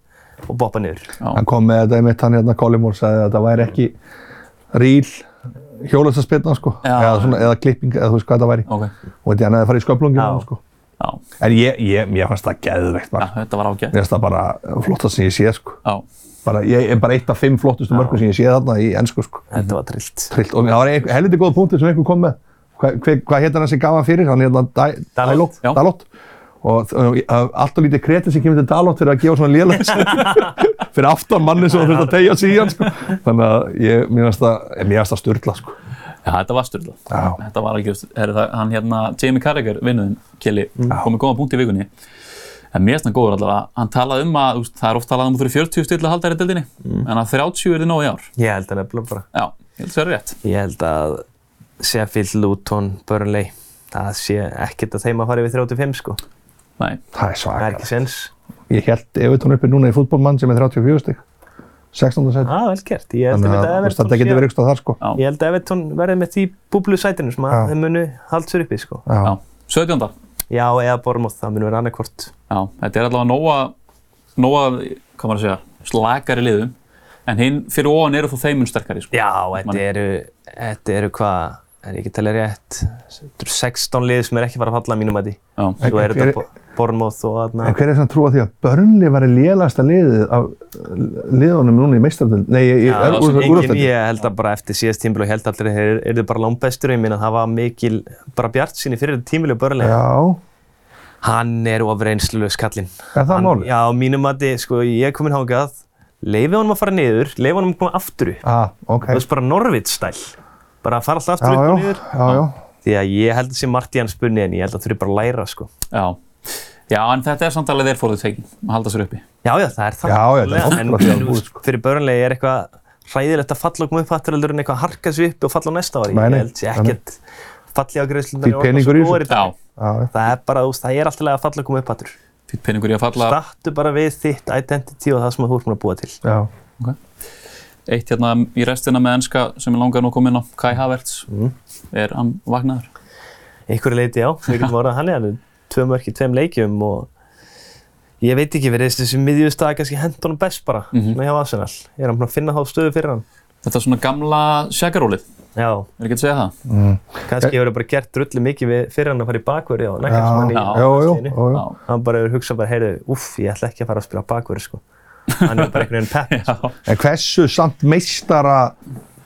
Speaker 3: og boppa niður.
Speaker 1: Já.
Speaker 2: Hann kom með þetta einmitt, hann hérna Collymore sagði að það væri ekki ríl hjólastaspilna, sko.
Speaker 1: Já.
Speaker 2: Eða, svona, eða klipping, eða þú veist hvað það væri.
Speaker 1: ok,
Speaker 2: Og þetta hann hefði farið í
Speaker 3: Já.
Speaker 2: sköflungina, sko.
Speaker 1: já,
Speaker 2: En ég, ég, mér fannst það geðveikt
Speaker 1: já
Speaker 2: bara.
Speaker 1: þetta var ágætt
Speaker 2: Mér finnst það bara flottast sem ég sé, sko.
Speaker 1: já,
Speaker 2: Bara, ég er bara eitt af fimm flottustu mörgum sem ég sé þarna í ennsku, sko.
Speaker 3: Þetta var trillt.
Speaker 2: trillt og það var einhver helviti góð punktur sem einhver kom með Hva- hve- hvað hétt hann sem gaf hann fyrir hann hérna Dai- Dalot
Speaker 3: Dalot,
Speaker 1: já.
Speaker 2: Dalot. og og, uh, allt og lítið kreti sem kemur til Dalot fyrir að gefa svona lélægst fyrir aftan manni sem þú þurft að tegja sig í hann sko. þannig að ég mér finnst það eh, mér finnst það styrla sko.
Speaker 1: já, þetta var styrla
Speaker 2: Já. Mm.
Speaker 1: þetta var algjörst, herðu það, hann hérna Jamie Carragher, vinnuðin Kelly, kom með góða punkt í vikunni en mér finnst hann góður allavega, hann talaði um að þú veist, það er oft talað um að þú fyrir 40 stil að halda þær í deildinni
Speaker 2: Mm.
Speaker 1: en að 30 er þið nóg í ár
Speaker 3: Ég held að nefnilega bara.
Speaker 1: já, ég held að það er rétt
Speaker 3: Ég held að Sheffield, Luton, Burnley, það sé ekkert að þeim að fara yfir 35 sko.
Speaker 1: Nei.
Speaker 2: Það er
Speaker 3: Það
Speaker 2: svaka.
Speaker 3: er ekki sens.
Speaker 2: Ég held Evertón uppi núna í fútbólmann sem er 34 stygg. 16.
Speaker 3: Það
Speaker 2: seti.
Speaker 3: ah, vel gert. Ég held
Speaker 2: Þannig
Speaker 3: að
Speaker 2: að þú veist,
Speaker 3: Everton,
Speaker 2: þetta getur verið ykkur þar sko.
Speaker 1: Já.
Speaker 3: ég held að Everton verði með því búblu sætinu sem að
Speaker 2: Já.
Speaker 3: þeim munu haldt sér uppi sko.
Speaker 2: Já.
Speaker 1: já. 17.
Speaker 3: Já, eða Bormóð, það munu vera annarkvort.
Speaker 1: Já, þetta er allavega nóga, nóga hvað maður að segja, slakari liðum en hinn fyrir ofan eru þú þeim mun sterkari sko.
Speaker 3: Já, þetta eru, þetta eru hvað, er ég ekki að tala rétt, þetta eru 16 lið sem er ekki fara að falla að mínum að því.
Speaker 1: Já.
Speaker 3: Svo
Speaker 2: En
Speaker 3: eru
Speaker 2: hver-
Speaker 3: þetta Bo- Bournemouth og aðna.
Speaker 2: En hver er svona trú á því að Burnley var í lélasta liðið af uh, liðunum núna í meistardöld? Nei, ég, ég er úr
Speaker 3: Engin,
Speaker 2: þetta.
Speaker 3: ég held að bara eftir síðast tímbil og ég held allir að þeir eru bara langbestur og ég minna það var mikil bara bjart síni fyrir tímbil og börlega.
Speaker 2: Já,
Speaker 3: Hann er ofreynslulegs kallinn.
Speaker 2: er það
Speaker 3: Hann-
Speaker 2: málið?
Speaker 3: Já, á mínum að þið, sko, ég er komin hákað, leiði honum að fara niður, leiði honum að koma aftur upp.
Speaker 2: Ah, ok.
Speaker 3: Það er bara Norvits stæl. Bara að fara alltaf
Speaker 2: Já,
Speaker 3: aftur upp og
Speaker 2: já,
Speaker 3: niður.
Speaker 2: já, já.
Speaker 3: Því að ég held að sé margt í hans bunni en ég held að þurfi bara að læra, sko.
Speaker 1: Já. Já, en þetta er samt alveg þeir fóruð tekin að halda sér uppi.
Speaker 3: Já, já, það er það.
Speaker 2: Já, já, þetta er
Speaker 3: En-
Speaker 2: ótrúlega
Speaker 3: en,
Speaker 2: búið,
Speaker 3: þú veist, Fyrir börnlega er eitthvað hræðilegt að falla og koma upp hattur heldur en eitthvað að harka sig upp og falla á næsta ári.
Speaker 2: Nei, nei,
Speaker 3: Ég held
Speaker 2: nei,
Speaker 3: sér
Speaker 2: nei.
Speaker 3: ekkert falli á
Speaker 2: Því
Speaker 3: greiðslunar
Speaker 2: peningur í þessu.
Speaker 1: Já,
Speaker 2: já, já.
Speaker 3: Það er bara, þú veist, það er alltaf að falla og koma upp hattur.
Speaker 1: fyrir penningur í að falla.
Speaker 3: Stattu bara við þitt identity og það sem þú ert múin að búa til.
Speaker 2: já.
Speaker 1: Eitt hérna í restina með enska sem ég langar nú að koma inn á, Kai Havertz,
Speaker 2: Mhm.
Speaker 1: er hann vaknaður.
Speaker 3: Einhverju leiti já, við getum orðað hann eða tvö mörki, tveim leikjum og ég veit ekki, við reystum þessi miðjústaða kannski hend honum best bara,
Speaker 1: Mhm.
Speaker 3: svona hjá Arsenal. Ég er hann búin að finna þá stöðu fyrir hann.
Speaker 1: Þetta er svona gamla sjækarólið,
Speaker 3: Já,
Speaker 1: er ekki að segja það?
Speaker 2: Mhm.
Speaker 3: kannski
Speaker 1: Eh.
Speaker 3: hefur það bara gert drullu mikið við- fyrir hann að fara í bakverði og nækast sem hann í
Speaker 1: Já.
Speaker 2: Jú, jú,
Speaker 3: landsliðinu.
Speaker 2: jú, jú.
Speaker 1: Já.
Speaker 3: hann bara hefur hugsað bara, heyrðu, uff, ég ætla ekki að fara að spila bakverði, sko. Hann er bara einhvern veginn pepp.
Speaker 1: Já.
Speaker 2: En hversu samt meistara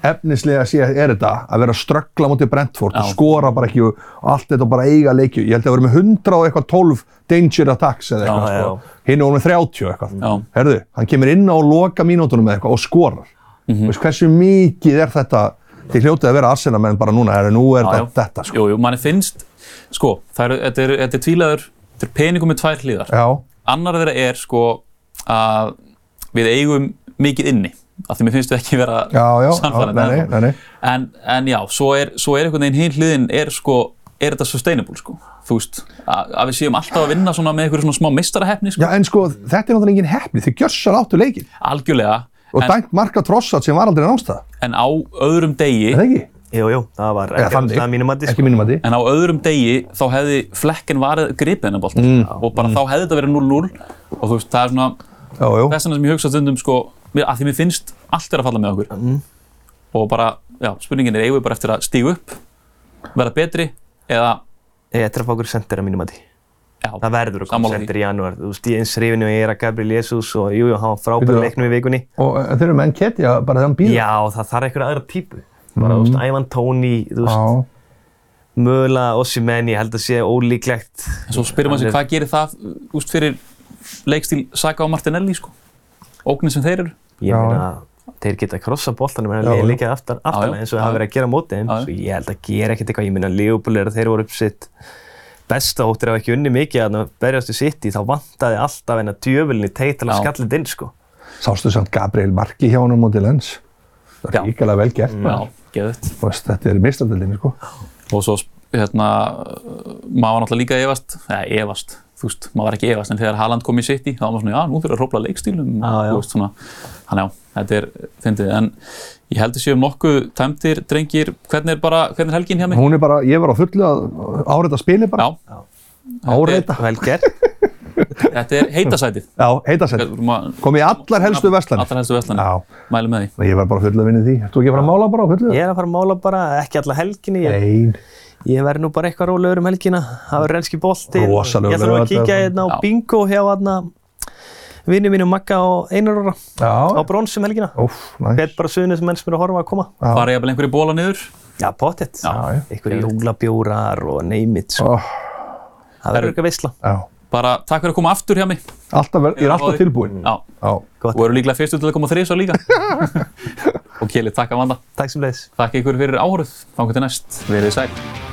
Speaker 2: efnislega sé er þetta að vera að ströggla mútið Brentford og
Speaker 1: Já.
Speaker 2: skora bara ekki og allt þetta og bara eiga leikju. Ég held að vera með 100 og eitthvað 12 danger attacks eða eitthvað.
Speaker 3: Já, já.
Speaker 2: sko. Hinn og hún með 30 og eitthvað.
Speaker 1: Já.
Speaker 2: Herðu, hann kemur inn á loka mínútonum með eitthvað og skorar. Mm
Speaker 3: Mhm.
Speaker 2: Veist, hversu mikið er þetta? Þið hljótið að vera Arsenal menn bara núna, herru, nú er
Speaker 1: Já, já.
Speaker 2: þetta, þetta sko.
Speaker 1: Jú, jú, manni finnst, sko, það eru, þetta er, þetta er tvílaður, þetta er penningur með tvær hlýðar.
Speaker 2: Já,
Speaker 1: Annar þeirra er sko að við eigum mikið inni af því mér finnst við ekki vera
Speaker 2: já, já.
Speaker 1: sannfærandi
Speaker 2: nei, nei,
Speaker 1: ennþá.
Speaker 2: nei, nei.
Speaker 1: en, en já, svo er, svo er einhvern veginn hinn hliðin er sko, er þetta sustainable sko þú veist, að, að við séum alltaf að vinna svona með einhverju svona smá meistarahefni
Speaker 2: Já,
Speaker 1: sko,
Speaker 2: en sko, þetta er náttúrulega engin hefni. Þið gjössar áttu leikin
Speaker 1: algjörlega
Speaker 2: og
Speaker 1: en,
Speaker 2: dæmt marka trossat sem var aldrei námstað.
Speaker 1: en á öðrum degi
Speaker 2: Er það ekki?
Speaker 3: Jú, jú, það var
Speaker 2: Eða
Speaker 3: ekki
Speaker 2: þannig.
Speaker 3: að mínum sko. að
Speaker 2: Ekki
Speaker 3: diska.
Speaker 2: mínum að því.
Speaker 1: en á öðrum degi þá hefði flekkinn varðið gripið hennar bolta
Speaker 2: Mm.
Speaker 1: og bara þá hefði þetta verið 0-0 og þú veist, það er svona
Speaker 2: Já, já.
Speaker 1: þess vegna sem ég hugsa stundum sko, mér- að því mér finnst allt er að falla með okkur
Speaker 3: Mm.
Speaker 1: og bara, já, spurningin er eigum við bara eftir að stígu upp verða betri eða,
Speaker 3: Ég ætla að fá okkur sendir að mínum að
Speaker 1: já,
Speaker 3: Það verður að koma
Speaker 1: Sammála því.
Speaker 3: sendir í janúar. Þú veist, ég eins hrifin og ég er að Gabriel Jesus og jú, jú, hann var frábær
Speaker 2: Veitu
Speaker 3: í
Speaker 2: það?
Speaker 3: leiknum í vikunni.
Speaker 2: Og eh, þeir eru með Nketja, bara þegar hann býður.
Speaker 3: Já, það þarf einhverja aðra típu. Bara, þú veist, Ævan Tóni, þú veist,
Speaker 2: Já.
Speaker 3: mögulega Ossimenn, ég held að sé ólíklegt.
Speaker 1: en svo spyrir maður sig
Speaker 3: Hann er-
Speaker 1: hvað gerir það úst, fyrir leikstíl Saka og Martinelli sko, ógnin sem þeir eru
Speaker 3: Ég
Speaker 2: Já.
Speaker 3: meina, þeir geta að krossa boltanum en
Speaker 2: Já, já.
Speaker 3: þeir líka aftan, aftan
Speaker 1: já.
Speaker 3: eins og það hafa verið að gera á móti
Speaker 1: Já,
Speaker 3: þeim.
Speaker 1: já.
Speaker 3: Svo ég held að gera ekkert eitthvað, ég meina Leopold er að þeir voru upp sitt besta hóttir hafa ekki unni mikið að berjast í sitt í þá vantaði alltaf hennar djöfulni teitil að
Speaker 1: Já.
Speaker 3: skalla þetta inn sko.
Speaker 2: Sástu samt Gabriel Marki hjá hann á móti lens. Það
Speaker 1: Já.
Speaker 2: er ríkilega vel gert.
Speaker 1: já, geðut
Speaker 2: Þú Veist, þetta er mistandildinni, sko.
Speaker 1: og svo, hérna, uh, maður var náttúrulega líka að efast eða efast, þú veist, maður var ekki að efast en þegar Haaland kom í sitt í, þá var maður svona, já, nú þurfum við að hrópla leikstílum og,
Speaker 3: Já, já.
Speaker 1: þú veist, svona, hann já, þetta er fyndið, en ég held að séum nokkuð tæmdir, drengir, hvernig er bara hvernig er helgin hjá mig?
Speaker 2: Hún er bara, ég var á fullu að áreita spili bara.
Speaker 1: Já,
Speaker 2: Áreita.
Speaker 3: Vel gert.
Speaker 1: þetta er heitasætið
Speaker 2: Já, heita sér. Kom í allar helstu veslan.
Speaker 1: Allar helstu veslan,
Speaker 2: Já.
Speaker 1: mælum með því
Speaker 2: Ég var bara á fullu að vinna í því. Ert Þú ekki að fara að mála bara á fullu?
Speaker 3: Ég er að fara að mála bara ekki alla helginni. Ég,
Speaker 2: Nein.
Speaker 3: ég verði nú bara eitthvað rólegur um helgina. Það verður renski bolti.
Speaker 2: Rosalegur
Speaker 3: Ég ætla nú að
Speaker 2: laugardagur.
Speaker 3: kíkja hérna á
Speaker 1: Já.
Speaker 3: bingo hjá hérna vinnu mínu Magga og Einar Óra á
Speaker 2: Já.
Speaker 3: bronsum helgina.
Speaker 2: Úff, næ.
Speaker 3: Hvert bara suðinu sem menn sem eru að horfa að koma.
Speaker 2: Já.
Speaker 1: Farið ég að einhverju bóla niður
Speaker 3: Já, pottet.
Speaker 1: Já,
Speaker 2: já.
Speaker 3: Eitthvað jólabjórar og neymit.
Speaker 2: Ó,
Speaker 3: Sko. Það verður eitthvað veistla.
Speaker 2: Já.
Speaker 1: Bara takk fyrir að koma aftur hjá mig
Speaker 2: Alltaf, vel- ég er
Speaker 1: Já.
Speaker 2: alltaf tilbúinn.
Speaker 1: Já,
Speaker 2: Já.
Speaker 3: Gott.
Speaker 1: og eru líklega fyrstu til að koma þrýsa líka Og Kjeli, takk að vanda
Speaker 3: Takk sem leiðis.
Speaker 1: Takk ykkur fyrir áhorð, fangu til næst, verið sæl